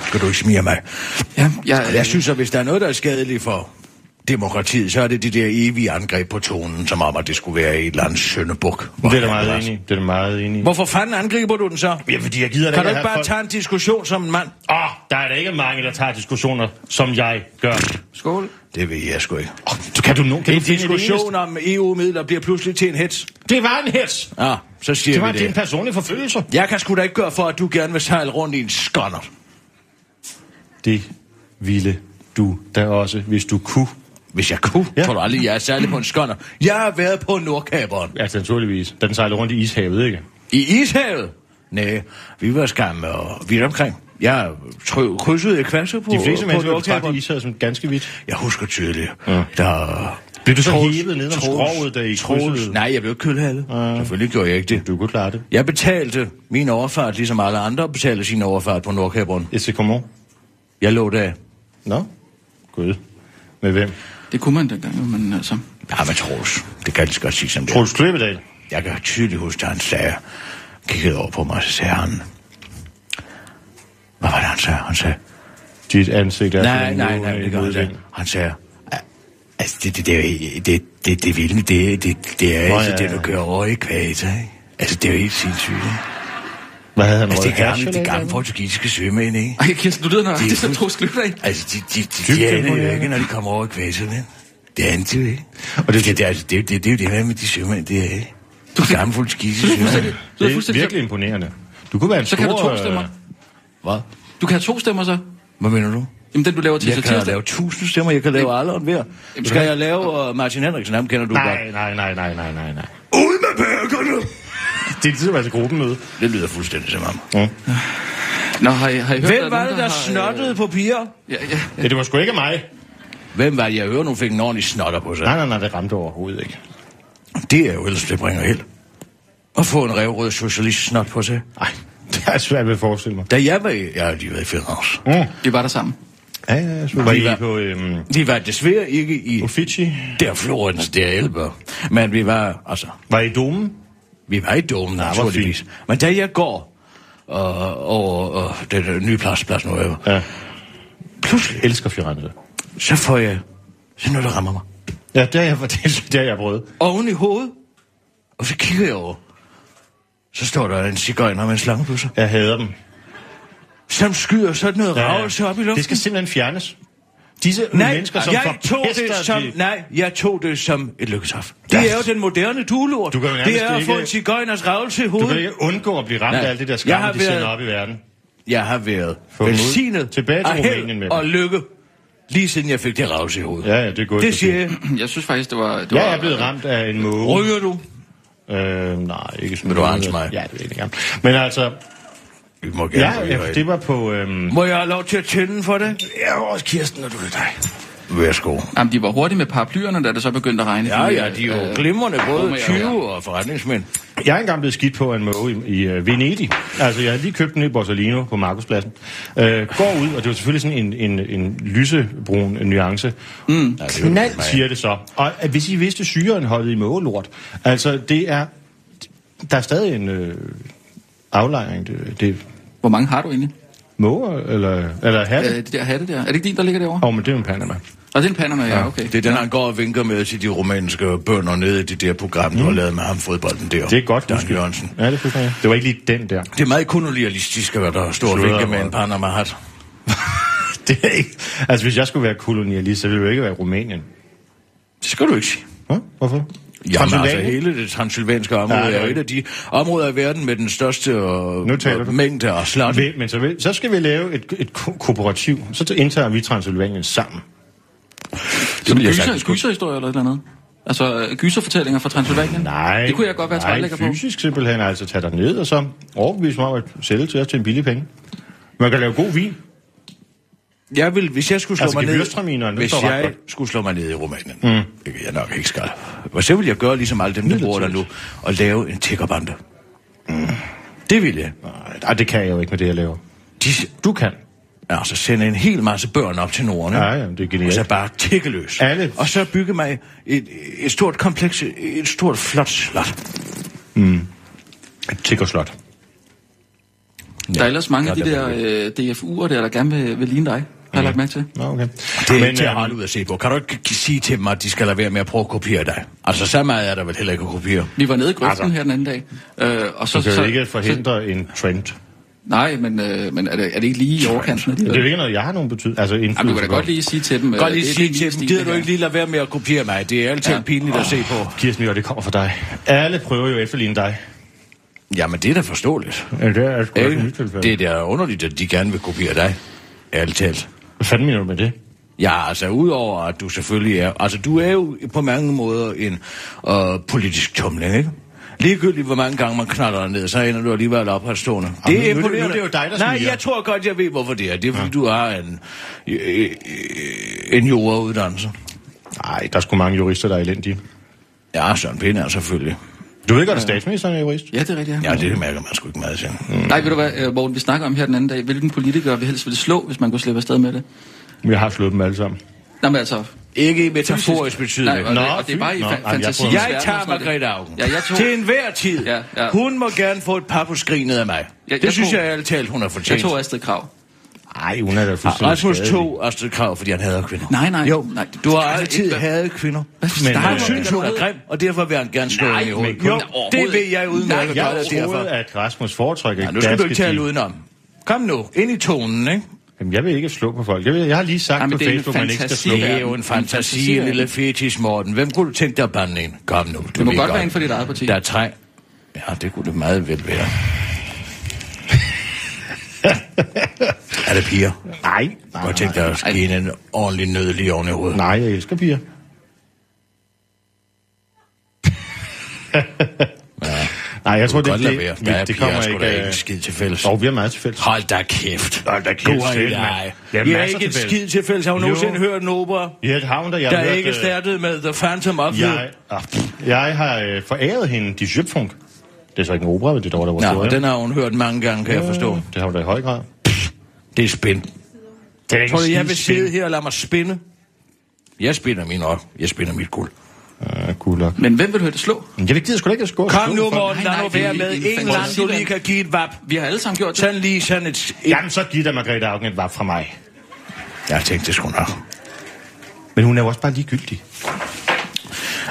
Speaker 4: Skal du ikke smire mig?
Speaker 5: Ja, jeg,
Speaker 4: Jeg synes, at hvis der er noget, der er skadeligt for demokratiet, så er det de der evige angreb på tonen, som om, at det skulle være et eller andet søndebuk.
Speaker 2: Det er da meget enig i. Det er da meget enig i.
Speaker 4: Hvorfor fanden angriber du den så?
Speaker 2: Ja, fordi jeg gider da
Speaker 4: Kan du
Speaker 2: at
Speaker 4: ikke
Speaker 2: have
Speaker 4: bare
Speaker 2: folk-
Speaker 4: tage en diskussion som en mand?
Speaker 2: Åh, oh, der er da ikke mange, der tager diskussioner, som jeg gør.
Speaker 5: Skål.
Speaker 4: Det vil jeg sgu ikke.
Speaker 2: Oh, kan du nogen? Kan
Speaker 4: En
Speaker 2: du finde et
Speaker 4: diskussion om EU-midler bliver pludselig til en hets.
Speaker 2: eneste- Det var en hets.
Speaker 4: Ja, så siger
Speaker 2: Det
Speaker 4: vi
Speaker 2: var
Speaker 4: det.
Speaker 2: din personlige forfølgelse.
Speaker 4: Jeg kan sgu da ikke gøre for, at du gerne vil sejle rundt i en skonner.
Speaker 2: Det ville du da også, hvis du kunne.
Speaker 4: Hvis jeg kunne, ja.
Speaker 2: Ja.
Speaker 4: tror du aldrig, jeg er særlig på en skonner. Jeg har været på Nordkaberen.
Speaker 2: Altså naturligvis. Da den sejler rundt i ishavet, ikke?
Speaker 4: I ishavet. Nej, vi var skam og vidt omkring. Jeg trø- krydsede ekvator på,
Speaker 2: De fleste
Speaker 4: på
Speaker 2: mennesker betragter
Speaker 4: Nordkaberen.
Speaker 2: ishavet som ganske vidt.
Speaker 4: Jeg husker tydeligt.
Speaker 2: Ja.
Speaker 4: Der...
Speaker 2: Blev du så
Speaker 4: Troels-
Speaker 2: hævet ned om
Speaker 4: Troels-
Speaker 2: skroget, da I
Speaker 4: Troels-
Speaker 2: krydsede?
Speaker 4: Nej, jeg blev kølhalet. Ja. Selvfølgelig gjorde jeg ikke det.
Speaker 2: Du kunne klare det.
Speaker 4: Jeg betalte min overfart, ligesom alle andre betalte sin overfart på Nordkaberen.
Speaker 2: Et sekundmor.
Speaker 4: Jeg lå der.
Speaker 2: Nå? Gud. Med hvem?
Speaker 5: Det kunne man dengang, jo, men altså...
Speaker 4: Ja, men Troels. Det kan jeg lige så godt sige som det. er.
Speaker 2: Troels Kløvedal.
Speaker 4: Jeg kan tydeligt huske, da han sagde, kiggede over på mig, og så sagde han, hvad var det, han sagde? Han sagde,
Speaker 2: Dit ansigt er...
Speaker 4: nej,
Speaker 2: sådan
Speaker 4: nej,
Speaker 2: en
Speaker 4: nej, det gør han
Speaker 2: modvind.
Speaker 4: ikke. Han sagde, "Ah, altså, det, det, det, er jo ikke- det, det, det vilde, det, det, det er
Speaker 2: Nå,
Speaker 4: altså
Speaker 2: ja,
Speaker 4: det,
Speaker 2: ja.
Speaker 4: du kører over i kvæta, ikke? Altså, det er jo helt sindssygt, ikke?
Speaker 2: Hvad havde han
Speaker 4: Altså, det
Speaker 2: røget
Speaker 4: er gamle,
Speaker 2: hash,
Speaker 4: det er
Speaker 2: eller
Speaker 4: gamle
Speaker 2: hvad?
Speaker 4: portugisiske sømænd, ikke?
Speaker 5: Ej, Kirsten, du lyder nok. Det er som to skrifter i.
Speaker 4: Altså, de, de, de,
Speaker 2: Dybt
Speaker 4: de aner jo
Speaker 2: imponerende.
Speaker 4: ikke, når de kommer over i kvæserne. Det er det jo ikke. Og
Speaker 2: Og
Speaker 4: det,
Speaker 2: det-
Speaker 4: det, det, er altså- det, er- det, er- det, er jo det her med de sømænd, det er ikke. Du er gammel skidt sømænd.
Speaker 5: Du er
Speaker 2: Det er
Speaker 5: fuldstændig...
Speaker 2: virkelig imponerende. Du kunne være en
Speaker 5: Så kan du
Speaker 2: stor,
Speaker 5: to stemmer.
Speaker 2: øh,
Speaker 4: Hvad?
Speaker 5: Du kan have to stemmer så.
Speaker 4: Hvad mener du?
Speaker 5: Jamen, den du laver til
Speaker 4: Jeg kan
Speaker 5: satirsdag.
Speaker 4: lave tusind stemmer, jeg kan lave alle og hver. Skal jeg lave uh, Martin Henriksen, ham kender du godt.
Speaker 2: Nej, nej, nej, nej, nej, nej, nej.
Speaker 4: Ud med bøgerne!
Speaker 2: Det er ligesom altså gruppemøde.
Speaker 4: Det lyder fuldstændig som ham.
Speaker 5: Nå, har I, har I hørt,
Speaker 4: Hvem var
Speaker 5: nogen,
Speaker 4: det, der
Speaker 5: har, øh,
Speaker 4: snottede på piger?
Speaker 5: Ja, ja.
Speaker 2: Ja, det var sgu ikke mig.
Speaker 4: Hvem var det, jeg hører, nu fik en ordentlig snotter på sig?
Speaker 2: Nej, nej, nej, det ramte overhovedet ikke.
Speaker 4: Det er jo ellers, det bringer held. At få en revrød socialist snot på sig.
Speaker 2: Nej, det er svært ved at forestille mig.
Speaker 4: Da jeg var i... Jeg har lige været i Firenze.
Speaker 5: Vi var der sammen.
Speaker 2: Ja, ja, jeg skulle- var
Speaker 4: Vi var-
Speaker 2: I på øhm,
Speaker 4: Vi var desværre ikke i
Speaker 2: Uffizi?
Speaker 4: der Florens, der Elber. Men vi var, altså,
Speaker 2: Var I i domen?
Speaker 4: vi var i domen,
Speaker 2: hvor
Speaker 4: naturligvis. Men da jeg går øh, over øh, den øh, nye plads, plads nu, øh,
Speaker 2: Ja.
Speaker 4: pludselig,
Speaker 2: Elsker Firenze.
Speaker 4: så får jeg sådan noget, der rammer mig.
Speaker 2: Ja, det har jeg, det, er- det har jeg prøvet.
Speaker 4: Oven i hovedet. Og så kigger jeg over. Så står der en cigøjner med en slange på sig,
Speaker 2: Jeg hader dem.
Speaker 4: som skyder sådan noget
Speaker 2: Ja,
Speaker 4: ja,
Speaker 2: ja.
Speaker 4: ravelse op i luften.
Speaker 2: Det skal simpelthen fjernes. Disse
Speaker 4: Nej,
Speaker 2: mennesker, som
Speaker 4: jeg tog det
Speaker 2: forpester
Speaker 4: som,
Speaker 2: de-
Speaker 4: nej, jeg tog det som et lykketræf. Det
Speaker 2: Ja.
Speaker 4: er jo den moderne duelort.
Speaker 2: Du kan jo
Speaker 4: det
Speaker 2: nærmest
Speaker 4: er at få
Speaker 2: ikke-
Speaker 4: en cigøjners ravelse i
Speaker 2: Du kan
Speaker 4: hovedet.
Speaker 2: ikke undgå at blive ramt
Speaker 4: Nej.
Speaker 2: af alt det der
Speaker 4: Jeg har
Speaker 2: skam, de
Speaker 4: været-
Speaker 2: sender op i verden.
Speaker 4: Jeg har været
Speaker 2: Få dem ud.
Speaker 4: velsignet
Speaker 2: Tilbage til
Speaker 4: af held
Speaker 2: Rumænien med dem.
Speaker 4: og lykke, lige siden jeg fik det ravse i hovedet.
Speaker 2: Ja, ja, det er godt.
Speaker 4: det siger jeg.
Speaker 5: Jeg synes faktisk, det var... Det var,
Speaker 2: Jeg er blevet ramt af en måge.
Speaker 4: Ryger du?
Speaker 2: Øh, nej, ikke sådan
Speaker 4: Vil du
Speaker 2: noget.
Speaker 4: arrange mig?
Speaker 2: Ja, det vil jeg gerne. Men altså,
Speaker 4: Vi må gerne
Speaker 2: ja, ja, det var på... Øhm,
Speaker 4: Må jeg have lov til at tænde for det?
Speaker 2: jeg var også Kirsten, og du er dig.
Speaker 4: Værsgo.
Speaker 5: Jamen, de var hurtige med paraplyerne, da det så begyndte at regne.
Speaker 4: Ja,
Speaker 5: Fordi,
Speaker 4: ja,
Speaker 5: øh,
Speaker 4: de er jo
Speaker 5: øh,
Speaker 4: glimrende, både
Speaker 5: romager, ja.
Speaker 4: tyve og forretningsmænd.
Speaker 2: Jeg er engang blevet skidt på af en måge i, i uh, Venedig. Altså, jeg havde lige købt en ny Borsalino på Markuspladsen. Uh, går ud, og det var selvfølgelig sådan en, en, en lysebrun nuance. Mm. Knald, siger det så. Og at hvis I vidste syreindholdet i mågelort, altså, det er... Der er stadig en øh, aflejring. Det, det er
Speaker 5: Hvor mange har du egentlig?
Speaker 2: måger, eller, eller hatte.
Speaker 5: Øh,
Speaker 2: Åh,
Speaker 5: de der hatte der. Er det ikke din, der ligger derovre?
Speaker 2: oh, men det er jo en Panama.
Speaker 5: Og det er en Panama, ja, okay.
Speaker 4: Det er den, han går og vinker med til de romanske bønder nede i det der program, du har lavet med ham fodbolden der.
Speaker 2: Mm. Det er godt,
Speaker 4: Dan
Speaker 2: husket.
Speaker 4: Jørgensen.
Speaker 2: Ja, det er fuldstændig. Det var ikke lige den der.
Speaker 4: Det er meget kolonialistisk, hvad der står og
Speaker 2: Sludder,
Speaker 4: vinker med en
Speaker 2: mand.
Speaker 4: Panama-hat.
Speaker 2: Det er ikke... Altså, hvis jeg skulle være kolonialist, så ville jeg jo ikke være i Rumænien.
Speaker 4: Det skal du ikke sige.
Speaker 2: Hå? Hvorfor?
Speaker 4: Jamen altså,
Speaker 2: Transylvanien?
Speaker 4: hele det transylvanske område
Speaker 2: Ja,
Speaker 4: ja,
Speaker 2: det er
Speaker 4: er jo et
Speaker 2: rigtigt.
Speaker 4: af de områder i verden med den største øh,
Speaker 2: Nu taler du.
Speaker 4: mængde af slot.
Speaker 2: Vel, men så, vil, så skal vi lave et, et ko- kooperativ. Så indtager vi Transylvanien sammen.
Speaker 5: Som
Speaker 8: ville jeg
Speaker 5: gyser,
Speaker 8: sagtens kunne.
Speaker 5: gyserhistorier eller et eller andet? Altså øh, gyserfortællinger fra Transylvanien?
Speaker 2: Nej,
Speaker 5: Det kunne jeg godt være
Speaker 2: nej,
Speaker 5: trælægger på.
Speaker 2: fysisk simpelthen. Altså, tag dig ned og så overbevise mig om at sælge til os til en billig penge. Man kan lave god vin.
Speaker 4: Jeg vil, hvis jeg skulle slå
Speaker 2: Altså,
Speaker 4: mig
Speaker 2: gebyrstremineren,
Speaker 4: ned...
Speaker 2: den
Speaker 4: Hvis
Speaker 2: står ret
Speaker 4: jeg
Speaker 2: godt.
Speaker 4: skulle slå mig ned i Rumænien, mm. hvilket jeg nok ikke skal, og så ville jeg gøre ligesom alle dem, der bor der nu, og lave en tiggerbande. Mm. Det ville jeg.
Speaker 2: Nej, det kan jeg jo ikke med det, jeg laver.
Speaker 4: De,
Speaker 2: Du kan.
Speaker 4: altså sende en hel masse børn op til Norden. ikke?
Speaker 2: Ja, ja, det er genialt.
Speaker 4: Og så bare tiggeløs.
Speaker 2: Alle-
Speaker 4: Og så bygge mig et, et stort kompleks, et stort flot slot.
Speaker 2: Et tiggerslot.
Speaker 5: Der er ellers mange af de
Speaker 4: Ja, det
Speaker 5: der øh, DFU'er der, der gerne vil, vil ligne dig. Har jeg lagt mærke til?
Speaker 2: Nå, okay.
Speaker 4: Det er Men, til at
Speaker 2: øhm,
Speaker 4: holde ud at se på. Kan du ikke k- sige til dem, at de skal lade være med at prøve at kopiere dig? Altså, så meget er der vel heller ikke at kopiere. Altså,
Speaker 5: Vi var nede i grøften her den anden dag. Øh, og så,
Speaker 2: du kan
Speaker 5: så,
Speaker 2: jo ikke
Speaker 5: Så,
Speaker 2: forhindre en trend.
Speaker 5: nej, men, øh, men er, det, er det ikke lige i overkanten?
Speaker 2: Det er jo
Speaker 5: Jamen,
Speaker 2: ikke noget, jeg har nogen betydning. Altså,
Speaker 5: du kan da godt lige sige til dem... øh,
Speaker 4: Godt lige
Speaker 5: det er
Speaker 4: sige
Speaker 5: din
Speaker 4: til dem,
Speaker 5: stil,
Speaker 4: gider
Speaker 5: det
Speaker 4: du
Speaker 5: her."
Speaker 4: ikke lige lade være med at kopiere mig? Det er altid
Speaker 5: Ja.
Speaker 4: pinligt at se på.
Speaker 2: Kirsten, jo, det kommer fra dig. Alle prøver jo at efterligne dig.
Speaker 4: Jamen, det er da forståeligt.
Speaker 2: Ja, det er sgu
Speaker 4: Ikke? Det er da underligt, at de gerne vil kopiere dig. Ærligt talt.
Speaker 2: Hvad fanden mener du med det?
Speaker 4: Ja, altså udover at du selvfølgelig er... Altså du er jo på mange måder en øh, politisk tumling, ikke? Ligegyldigt hvor mange gange man knaller dig ned, så ender du alligevel opholdsstående.
Speaker 2: Jamen, nu er det- nu er det jo dig, der
Speaker 4: Nej,
Speaker 2: smiger.
Speaker 4: jeg tror godt, jeg ved, hvorfor det er. Det er, fordi ja. du har en, øh, øh, en jorduddannelse.
Speaker 2: Nej, der er sgu mange jurister, der er elendige.
Speaker 4: Ja, Søren Pind er selvfølgelig.
Speaker 2: Du ved godt, at statsministeren er jurist.
Speaker 5: Ja, det er rigtigt.
Speaker 4: Ja, det mærker man sgu ikke meget til.
Speaker 5: Mm. Nej, ved du hvad, øh, Morten, vi snakker om her den anden dag, hvilken politiker vi helst ville slå, hvis man kunne slippe afsted med det.
Speaker 2: Jeg har slået dem alle sammen.
Speaker 5: Nå, men altså...
Speaker 4: Ikke i metaforisk
Speaker 5: Nej,
Speaker 4: betydning.
Speaker 5: og,
Speaker 2: Nå,
Speaker 5: det, og det er bare i
Speaker 2: fy-
Speaker 5: fa-
Speaker 2: nå, jamen, jeg
Speaker 5: fantasi.
Speaker 2: prøver-
Speaker 4: Jeg tager Margrethe Augen.
Speaker 5: Ja, jeg tog...
Speaker 4: Til enhver tid.
Speaker 5: Ja, ja.
Speaker 4: Hun må gerne få et par på skrinet af mig.
Speaker 5: Ja,
Speaker 4: det
Speaker 5: jeg
Speaker 4: synes
Speaker 5: tog-
Speaker 4: jeg ærligt talt, hun har fortjent.
Speaker 5: Jeg tog Astrid Krav.
Speaker 2: Nej, hun er da fuldstændig
Speaker 4: Rasmus
Speaker 2: skadelig.
Speaker 4: tog Astrid Krav, fordi han hader kvinder.
Speaker 5: Ah. Nej, nej,
Speaker 4: Jo,
Speaker 5: nej.
Speaker 4: du har
Speaker 5: Altså,
Speaker 4: altid
Speaker 5: ikke-
Speaker 4: hadet kvinder.
Speaker 5: snakker
Speaker 4: han
Speaker 5: du om?
Speaker 4: øh, synes, hun er grim, og derfor vil han gerne slå hende i hovedet.
Speaker 2: men
Speaker 4: Jo,
Speaker 2: kun-
Speaker 4: det
Speaker 5: overhovedet
Speaker 4: ved
Speaker 5: ikke.
Speaker 4: jeg udmærket
Speaker 2: Jeg
Speaker 4: godt, og
Speaker 2: troede,
Speaker 4: derfor...
Speaker 2: at Rasmus foretrækker
Speaker 4: Ja, nu skal du ikke
Speaker 2: danske
Speaker 4: tale
Speaker 2: de-
Speaker 4: udenom. Kom nu, ind i tonen, ikke?
Speaker 2: Jamen, jeg vil ikke slå på folk. Jeg, vil, jeg har lige sagt
Speaker 5: Ej, men
Speaker 2: på
Speaker 5: det er en
Speaker 2: Facebook, man ikke skal
Speaker 5: fantasi.
Speaker 2: slå.
Speaker 4: Det er
Speaker 5: verden.
Speaker 4: jo en
Speaker 5: Fantasi,
Speaker 4: fantasi, en
Speaker 5: verden.
Speaker 4: lille fetish, Morten. Hvem kunne du tænke dig at bande ind? Kom nu, du
Speaker 5: Det må
Speaker 4: ved
Speaker 5: godt være inden for dit eget parti.
Speaker 4: Der er træ. Ja, det kunne det meget vel være. er det piger?
Speaker 2: Nej, nej,
Speaker 4: Godt tænke dig at skine en ordentlig nødelig oven i hovedet.
Speaker 2: nej, jeg elsker piger. Nej, jeg tror,
Speaker 4: Godt
Speaker 2: det,
Speaker 4: lade være.
Speaker 2: det,
Speaker 4: Der er
Speaker 2: det, det
Speaker 4: piger
Speaker 2: kommer
Speaker 4: sgu
Speaker 2: ikke
Speaker 4: da ikke
Speaker 2: af...
Speaker 4: en skid til fælles.
Speaker 2: Og vi er meget til fælles.
Speaker 4: Hold da kæft.
Speaker 2: Hold da kæft,
Speaker 4: Du er
Speaker 2: selv,
Speaker 4: ikke
Speaker 2: mand.
Speaker 4: dig.
Speaker 2: Jeg
Speaker 4: Jeg
Speaker 2: er
Speaker 4: er
Speaker 2: masser
Speaker 4: ikke en
Speaker 2: til fælles.
Speaker 4: skid til fælles. Har hun
Speaker 2: Jo.
Speaker 4: nogensinde hørt en opera,
Speaker 2: Jette Havn, der jeg
Speaker 4: der
Speaker 2: har hørt,
Speaker 4: ikke
Speaker 2: øh,
Speaker 4: startede med The Phantom of the...
Speaker 2: jeg, ah, jeg har øh, foræret hende de Sjøpfunk. Det er så ikke en opera, men det er dog, der var
Speaker 4: Nå,
Speaker 2: historie.
Speaker 4: den har hun hørt mange gange, kan jeg forstå.
Speaker 2: Mm. Det har hun da i høj grad.
Speaker 4: Det er spænd.
Speaker 2: Det er ikke
Speaker 4: Tror du,
Speaker 2: en
Speaker 4: jeg vil
Speaker 2: skide
Speaker 4: sidde her og lade mig spænde? Jeg spinder min op. Jeg spinder mit guld.
Speaker 2: spin. Ja, cool nok.
Speaker 5: Men hvem vil du have det slå?
Speaker 2: Men Jeg vil gider sgu da ikke at skåre.
Speaker 4: Kom nu, Morten, lad
Speaker 5: Nej, nej,
Speaker 4: nu
Speaker 5: det
Speaker 4: være
Speaker 5: er en-
Speaker 4: med.
Speaker 5: en
Speaker 4: En eller anden, du
Speaker 5: fantasi,
Speaker 4: lige kan
Speaker 5: mand.
Speaker 4: give et vap.
Speaker 5: Vi har alle sammen gjort det.
Speaker 4: Sådan lige sådan et... et-
Speaker 2: Jamen, så giv dig Margrethe Augen et var fra mig.
Speaker 4: Jeg tænkte det sgu nok.
Speaker 2: Men hun er jo også bare ligegyldig.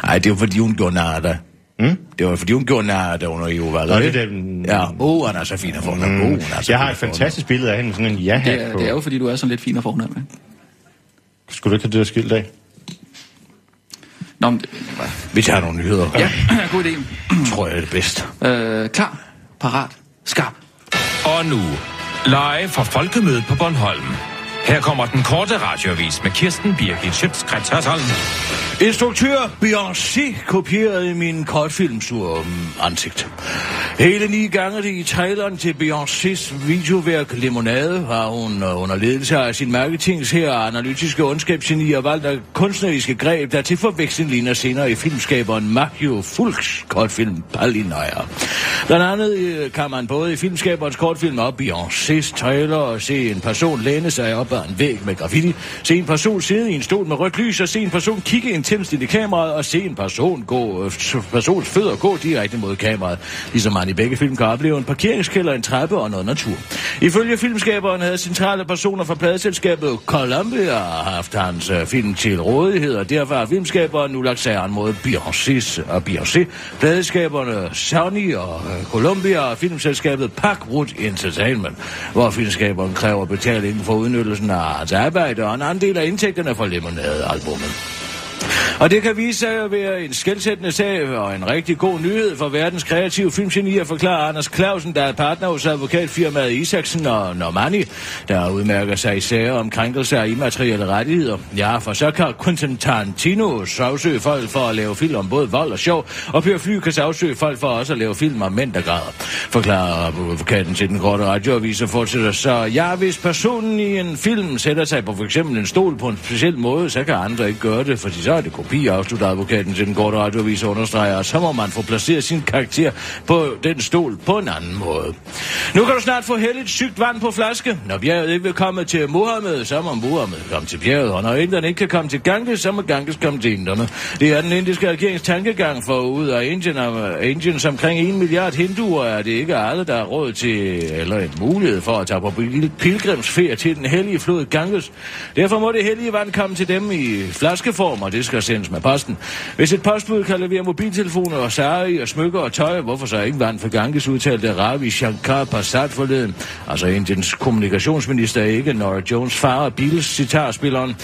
Speaker 4: Nej, det var fordi, hun gjorde nar af dig. Mm? Det var fordi, hun gjorde nar af dig under EU-valget.
Speaker 2: Hmm? Nå, det
Speaker 4: ikke?
Speaker 2: er den-
Speaker 4: Ja, åh, han er så fin at få. Mm. Oh,
Speaker 2: Jeg har et fantastisk billede af hende med sådan en ja-hat
Speaker 5: Det er,
Speaker 2: på.
Speaker 5: det er jo fordi, du er sådan lidt fin og fornem. ikke?
Speaker 2: Skulle du ikke have det der skilt af?
Speaker 5: Nå, men det,
Speaker 4: Vi tager nogle nyheder.
Speaker 5: ja, god idé.
Speaker 4: tror jeg er det bedste.
Speaker 5: Øh, klar, parat, skarp.
Speaker 7: Og nu, live fra Folkemødet på Bornholm. Her kommer den korte radiovis med Kirsten Birgit Schøtzgrads Hørsholm.
Speaker 4: Instruktør Beyoncé kopierede min kortfilms um, ansigt. Hele ni gange det i traileren til Beyoncés videoværk Limonade har hun øh, under ledelse af sin marketings her analytiske ondskabsgenier valgt af kunstneriske greb, der til forveksling ligner senere i filmskaberen Matthew Fulks kortfilm Ballinøjer. Blandt andet øh, kan man både i filmskaberens kortfilm og Beyoncés trailer og se en person læne sig op ad en væg med graffiti, se en person sidde i en stol med rødt lys og se en person kigge intenst ind i kameraet og se en person gå, øh, s- persons fødder gå direkte mod kameraet, ligesom man i begge film kan opleve en parkeringskælder, en trappe og noget natur. Ifølge filmskaberen havde centrale personer fra pladeselskabet Columbia haft hans øh, film til rådighed, og derfor har filmskaberen nu lagt sageren mod Beyoncé's og Beyoncé, pladeskaberne Sony og øh, Columbia og filmselskabet Packwood Entertainment, hvor filmskaberen kræver betaling for udnyttelsen af hans arbejde og en andel af indtægterne fra Lemonade-albummet. Og det kan vise sig at være en skældsættende sag og en rigtig god nyhed for verdens kreative filmgenier, forklarer Anders Clausen, der er partner hos advokatfirmaet Isaksen og Normani, der udmærker sig i sager om krænkelse af immaterielle rettigheder. Ja, for så kan Quentin Tarantino sagsøge folk for at lave film om både vold og sjov, og Per Fly kan sagsøge folk for også at lave film om mænd, der græder, forklarer advokaten til den korte radioavis og fortsætter så. Ja, hvis personen i en film sætter sig på f.eks. en stol på en speciel måde, så kan andre ikke gøre det, fordi så er det kopi, afslutter advokaten til den korte radioavis og understreger, og så må man få placeret sin karakter på den stol på en anden måde. Nu kan du snart få heldigt sygt vand på flaske. Når bjerget ikke vil komme til Mohammed, så må Mohammed komme til bjerget, og når inderne ikke kan komme til Ganges, så må Ganges komme til inderne. Det er den indiske regerings tankegang for ud af Indien, om- Indiens omkring 1 milliard hinduer, er det ikke alle, der har råd til eller en mulighed for at tage på pil- pilgrimsferie til den hellige flod Ganges. Derfor må det hellige vand komme til dem i flaskeform, og det skal sendes med posten. Hvis et postbud kan levere mobiltelefoner og sari og smykker og tøj, hvorfor så ikke vand for Ganges, udtalte Ravi Shankar Prasad forleden. Altså Indiens kommunikationsminister ikke, Nora Jones far og Beatles citarspilleren.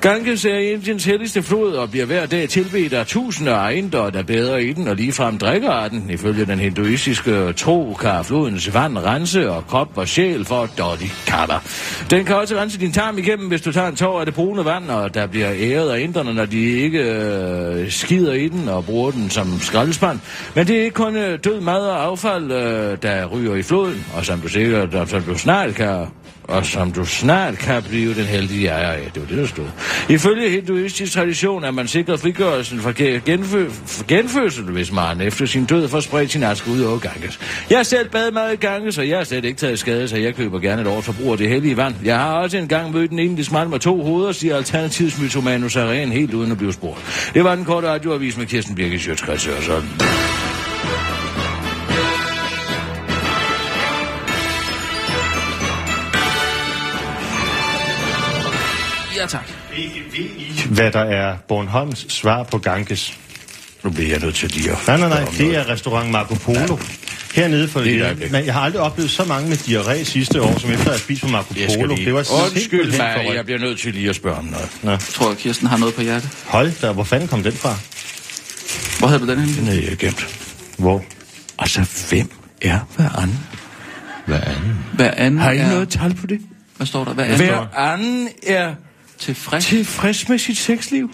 Speaker 4: Ganges er Indiens helligste flod og bliver hver dag tilbedt af tusinder af indere, der bedre i den og ligefrem drikker af den. Ifølge den hinduistiske tro kan flodens vand rense og krop og sjæl for dårlig kapper. Den kan også rense din tarm igennem, hvis du tager en tår af det brune vand, og der bliver æret af inderne, når de ikke øh, skider i den og bruger den som skraldespand. Men det er ikke kun øh, død mad og affald, øh, der ryger i floden, og som du sikkert, og som du snart kan og som du snart kan blive den heldige ejer af. Det var det, der stod. Ifølge hinduistisk tradition er man sikret frigørelsen fra ge- genfø- fra genfødsel, hvis man efter sin død får spredt sin aske ud over Ganges. Jeg selv bad meget i Ganges, og jeg har slet ikke taget skade, så jeg køber gerne et års forbrug af det hellige vand. Jeg har også engang mødt en enlig mand med to hoveder, siger alternativsmytomanus Aren helt uden at blive spurgt. Det var den korte radioavis med Kirsten Birke Sjøtskreds og sådan.
Speaker 5: Ja, tak.
Speaker 2: Hvad der er Bornholms svar på Ganges.
Speaker 4: Nu bliver jeg nødt til lige at...
Speaker 2: Nej, nej, nej, det er restaurant Marco Polo. Hernede for
Speaker 4: Lige et
Speaker 2: det.
Speaker 4: øjeblik.
Speaker 2: Men jeg har aldrig oplevet så mange med diarré sidste år, som efter at have spist på Marco
Speaker 4: Jeg skal
Speaker 2: Polo.
Speaker 4: lige...
Speaker 2: Det var
Speaker 4: Undskyld
Speaker 2: simpelthen
Speaker 4: mig,
Speaker 2: forrykt.
Speaker 4: jeg bliver nødt til lige at spørge om noget.
Speaker 5: Jeg tror, at Kirsten har noget på hjertet.
Speaker 2: Hold da, hvor fanden kom den fra?
Speaker 5: Hvor havde du den henne?
Speaker 4: Den havde jeg gemt.
Speaker 2: Hvor?
Speaker 4: Altså, hvem er hver anden?
Speaker 5: Hver anden
Speaker 4: Har I
Speaker 5: er...
Speaker 4: noget tal på det?
Speaker 5: Hvad står der? Hver anden
Speaker 4: Hver
Speaker 5: er
Speaker 4: anden er
Speaker 5: tilfreds.
Speaker 4: tilfreds med sit sexliv.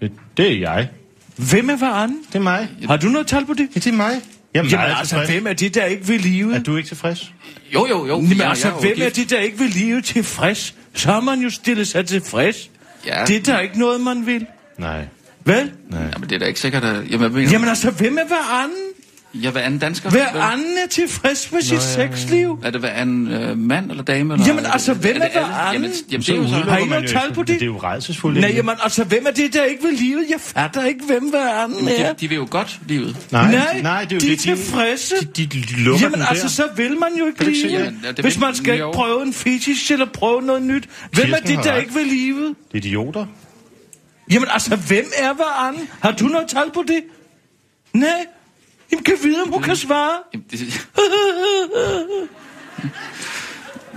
Speaker 2: Det, det er jeg.
Speaker 4: Hvem er hver anden?
Speaker 2: Det er mig.
Speaker 4: Har du noget tal på det?
Speaker 2: Ja, det er mig. Jamen,
Speaker 4: Jamen
Speaker 2: er
Speaker 4: altså,
Speaker 2: tilfreds.
Speaker 4: hvem er det, der ikke vil live?
Speaker 2: Er du ikke tilfreds?
Speaker 5: Jo, jo, jo.
Speaker 4: Jamen
Speaker 5: jeg-
Speaker 4: altså,
Speaker 5: jeg jo
Speaker 4: hvem er
Speaker 5: gift.
Speaker 4: det, der ikke vil live tilfreds? Så har man jo stillet sig tilfreds.
Speaker 5: Ja.
Speaker 4: Det er der ikke noget, man vil.
Speaker 2: Nej.
Speaker 4: Vel?
Speaker 5: Jamen, det er da ikke sikkert, at... Jamen, hvad mener
Speaker 4: Jamen altså, hvem er hver anden?
Speaker 5: du? Ja, hver anden dansker? Hvem?
Speaker 4: Hver anden er tilfreds med sit sexliv.
Speaker 5: Er det hver anden øh, mand eller dame? Eller,
Speaker 4: Jamen, altså, hvem er
Speaker 5: det
Speaker 4: hver
Speaker 5: alle?
Speaker 4: anden?
Speaker 5: Jamen, jamen, det er jo
Speaker 2: udelukker
Speaker 5: så...
Speaker 4: Har I
Speaker 2: man
Speaker 4: noget
Speaker 2: jo
Speaker 4: tal
Speaker 2: ikke-
Speaker 4: på det?
Speaker 2: Det er jo redselsfuldt.
Speaker 4: Nej,
Speaker 2: ikke?
Speaker 4: jamen altså, hvem er det, der ikke vil livet? Jeg fatter ikke, hvem hver anden er.
Speaker 5: De, de vil jo godt livet.
Speaker 2: Nej,
Speaker 4: Nej,
Speaker 2: nej, det er jo
Speaker 4: de er
Speaker 2: det,
Speaker 4: tilfredse.
Speaker 2: De, de lukker
Speaker 4: Jamen
Speaker 2: den
Speaker 4: altså,
Speaker 2: der.
Speaker 4: så vil man jo ikke
Speaker 2: Kan du ikke se
Speaker 4: blive.
Speaker 2: det?
Speaker 5: Jamen, ja, det
Speaker 4: Hvis
Speaker 5: vil-
Speaker 4: man skal
Speaker 5: jo.
Speaker 4: ikke prøve en fetish eller prøve noget nyt. Hvem er
Speaker 2: Kirsten
Speaker 4: det,
Speaker 2: har
Speaker 4: der
Speaker 2: ret.
Speaker 4: ikke vil livet?
Speaker 2: Det er idioter.
Speaker 4: Jamen altså, hvem er hver anden? Har du noget tal på det? Nej. Jamen, kan vide, om hun kan svare.
Speaker 5: Jamen, det,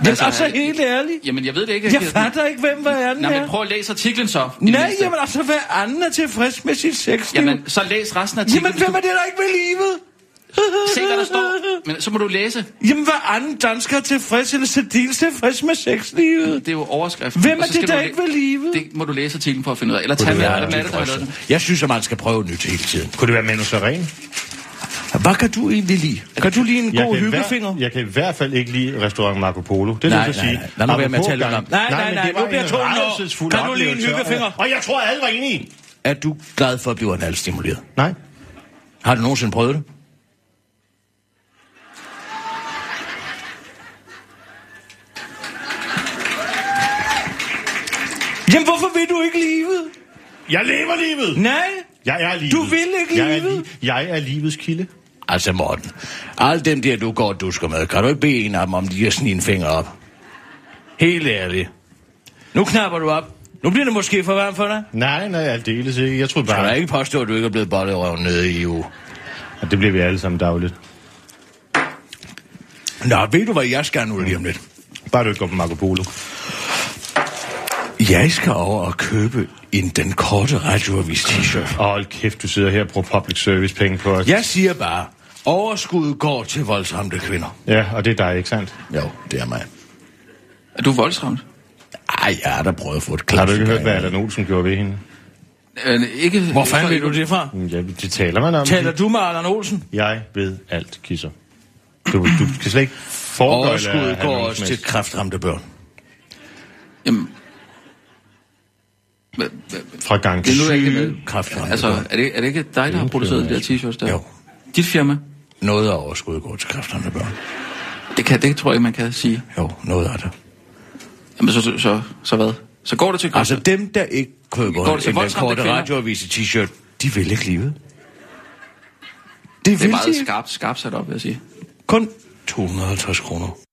Speaker 4: Jamen,
Speaker 5: Altså,
Speaker 4: altså,
Speaker 5: jeg-
Speaker 4: helt ærligt.
Speaker 5: jamen, jeg ved det ikke.
Speaker 4: Jeg
Speaker 5: Kirsten.
Speaker 4: fatter ikke, hvem hver anden
Speaker 5: Nej,
Speaker 4: er.
Speaker 5: men prøv at læse artiklen så. i det
Speaker 4: Nej,
Speaker 5: mindste.
Speaker 4: jamen altså, hver anden er tilfreds med sit sexliv. Jamen,
Speaker 5: Jamen, så læs resten af artiklen.
Speaker 4: jamen
Speaker 5: hvis
Speaker 4: hvem
Speaker 5: du-
Speaker 4: er det, der ikke vil livet?
Speaker 5: Se, hvad der står. Men så må du læse.
Speaker 4: Jamen, hver anden dansker er tilfreds eller særdeles tilfreds med sexlivet.
Speaker 5: Det er jo overskriften.
Speaker 4: Hvem
Speaker 5: og
Speaker 4: er
Speaker 5: så skal
Speaker 4: det,
Speaker 5: du
Speaker 4: der
Speaker 5: læ-
Speaker 4: ikke vil livet?
Speaker 5: Det må du læse artiklen for at finde ud af. Eller tag med
Speaker 4: Ja,
Speaker 5: alle med det, der har lavet den.
Speaker 4: Jeg synes, at man skal prøve nyt hele tiden.
Speaker 2: Kunne det være Manu Seren?
Speaker 4: Hvad kan du egentlig lide? Kan du lide en god
Speaker 2: kan i hvert-
Speaker 4: hyggefinger?
Speaker 2: jeg kan i hvert fald ikke lide restaurant Marco Polo. Det er
Speaker 4: Nej,
Speaker 2: nødt til at
Speaker 4: nej,
Speaker 2: sige.
Speaker 4: nej. Lad nu være med at tale
Speaker 2: Apropos
Speaker 4: om- Nej,
Speaker 2: gang-
Speaker 4: nej,
Speaker 2: men
Speaker 4: nej,
Speaker 2: det var
Speaker 4: nu bliver
Speaker 2: en
Speaker 4: tonen over.
Speaker 2: rædselsfuld
Speaker 4: Kan du lide en
Speaker 2: oplevelse,
Speaker 4: hyggefinger?
Speaker 2: og- Og jeg tror, alle var enige.
Speaker 4: Er du glad for at blive analstimuleret?
Speaker 2: Nej.
Speaker 4: Har du nogensinde prøvet det? Jamen, hvorfor vil du ikke livet?
Speaker 2: Jeg lever livet.
Speaker 4: Nej.
Speaker 2: Jeg er livet.
Speaker 4: Du vil ikke
Speaker 2: jeg Er
Speaker 4: livet?
Speaker 2: li- jeg er livets kilde.
Speaker 4: Altså, Morten, alle dem der, du går og dusker med, kan du ikke bede en af dem om lige at snige en finger op? Helt ærligt. Nu knapper du op. Nu bliver det måske for varmt for dig.
Speaker 2: Nej, nej, aldeles ikke. Jeg tror
Speaker 4: Kan du
Speaker 2: bare,
Speaker 4: ikke påstå, at du ikke er blevet bollet røven nede i EU?
Speaker 2: at det bliver vi alle sammen dagligt.
Speaker 4: Nå, ved du, hvad jeg skal nu lige om lidt?
Speaker 2: Bare du ikke går på Marco Polo.
Speaker 4: Jeg skal over og købe en den korte radioavis t-shirt.
Speaker 2: Hold kæft, du sidder her og bruger public service penge på os.
Speaker 4: Jeg siger bare, overskuddet går til voldsamte kvinder.
Speaker 2: Ja, og det er dig, ikke sandt?
Speaker 4: Jo, det er mig.
Speaker 5: Er du voldsramt?
Speaker 4: Ej, jeg har da prøvet at få et klart.
Speaker 2: Har du ikke hørt, hvad Allan Olsen gjorde ved hende? Mm,
Speaker 5: Øh, ikke,
Speaker 4: Hvor fanden ved du det fra?
Speaker 2: Ja, det taler man om.
Speaker 4: Taler du med Allan Olsen?
Speaker 2: Jeg ved alt, kisser. Du, du kan slet ikke foregøjle at
Speaker 4: Overskuddet
Speaker 2: have
Speaker 4: går
Speaker 2: nogen
Speaker 4: også
Speaker 2: som
Speaker 4: til
Speaker 2: helst.
Speaker 4: kræftramte børn.
Speaker 5: Jamen, hva- hva-
Speaker 2: Fra gang
Speaker 5: det er nu jeg ikke
Speaker 4: Syge kræftramte
Speaker 5: Altså,
Speaker 4: børn.
Speaker 5: er det, er det ikke dig, der har produceret de der t-shirts der?
Speaker 4: Jo.
Speaker 5: Dit firma?
Speaker 4: Noget af overskuddet går til kræftramte børn.
Speaker 5: Det, kan, det tror jeg, man kan sige.
Speaker 4: Jo, noget af det.
Speaker 5: Jamen, så, så, så, så hvad? Så går det til
Speaker 4: Altså dem, der ikke køber
Speaker 5: Går det til
Speaker 4: en den
Speaker 5: voldsamte
Speaker 4: korte
Speaker 5: kvinder?
Speaker 4: radioavis i t-shirt, de vil ikke livet. Det,
Speaker 5: det er
Speaker 4: vil de
Speaker 5: meget
Speaker 4: ikke.
Speaker 5: skarpt, skarpt sat op, vil jeg sige.
Speaker 4: Kun 250 kroner.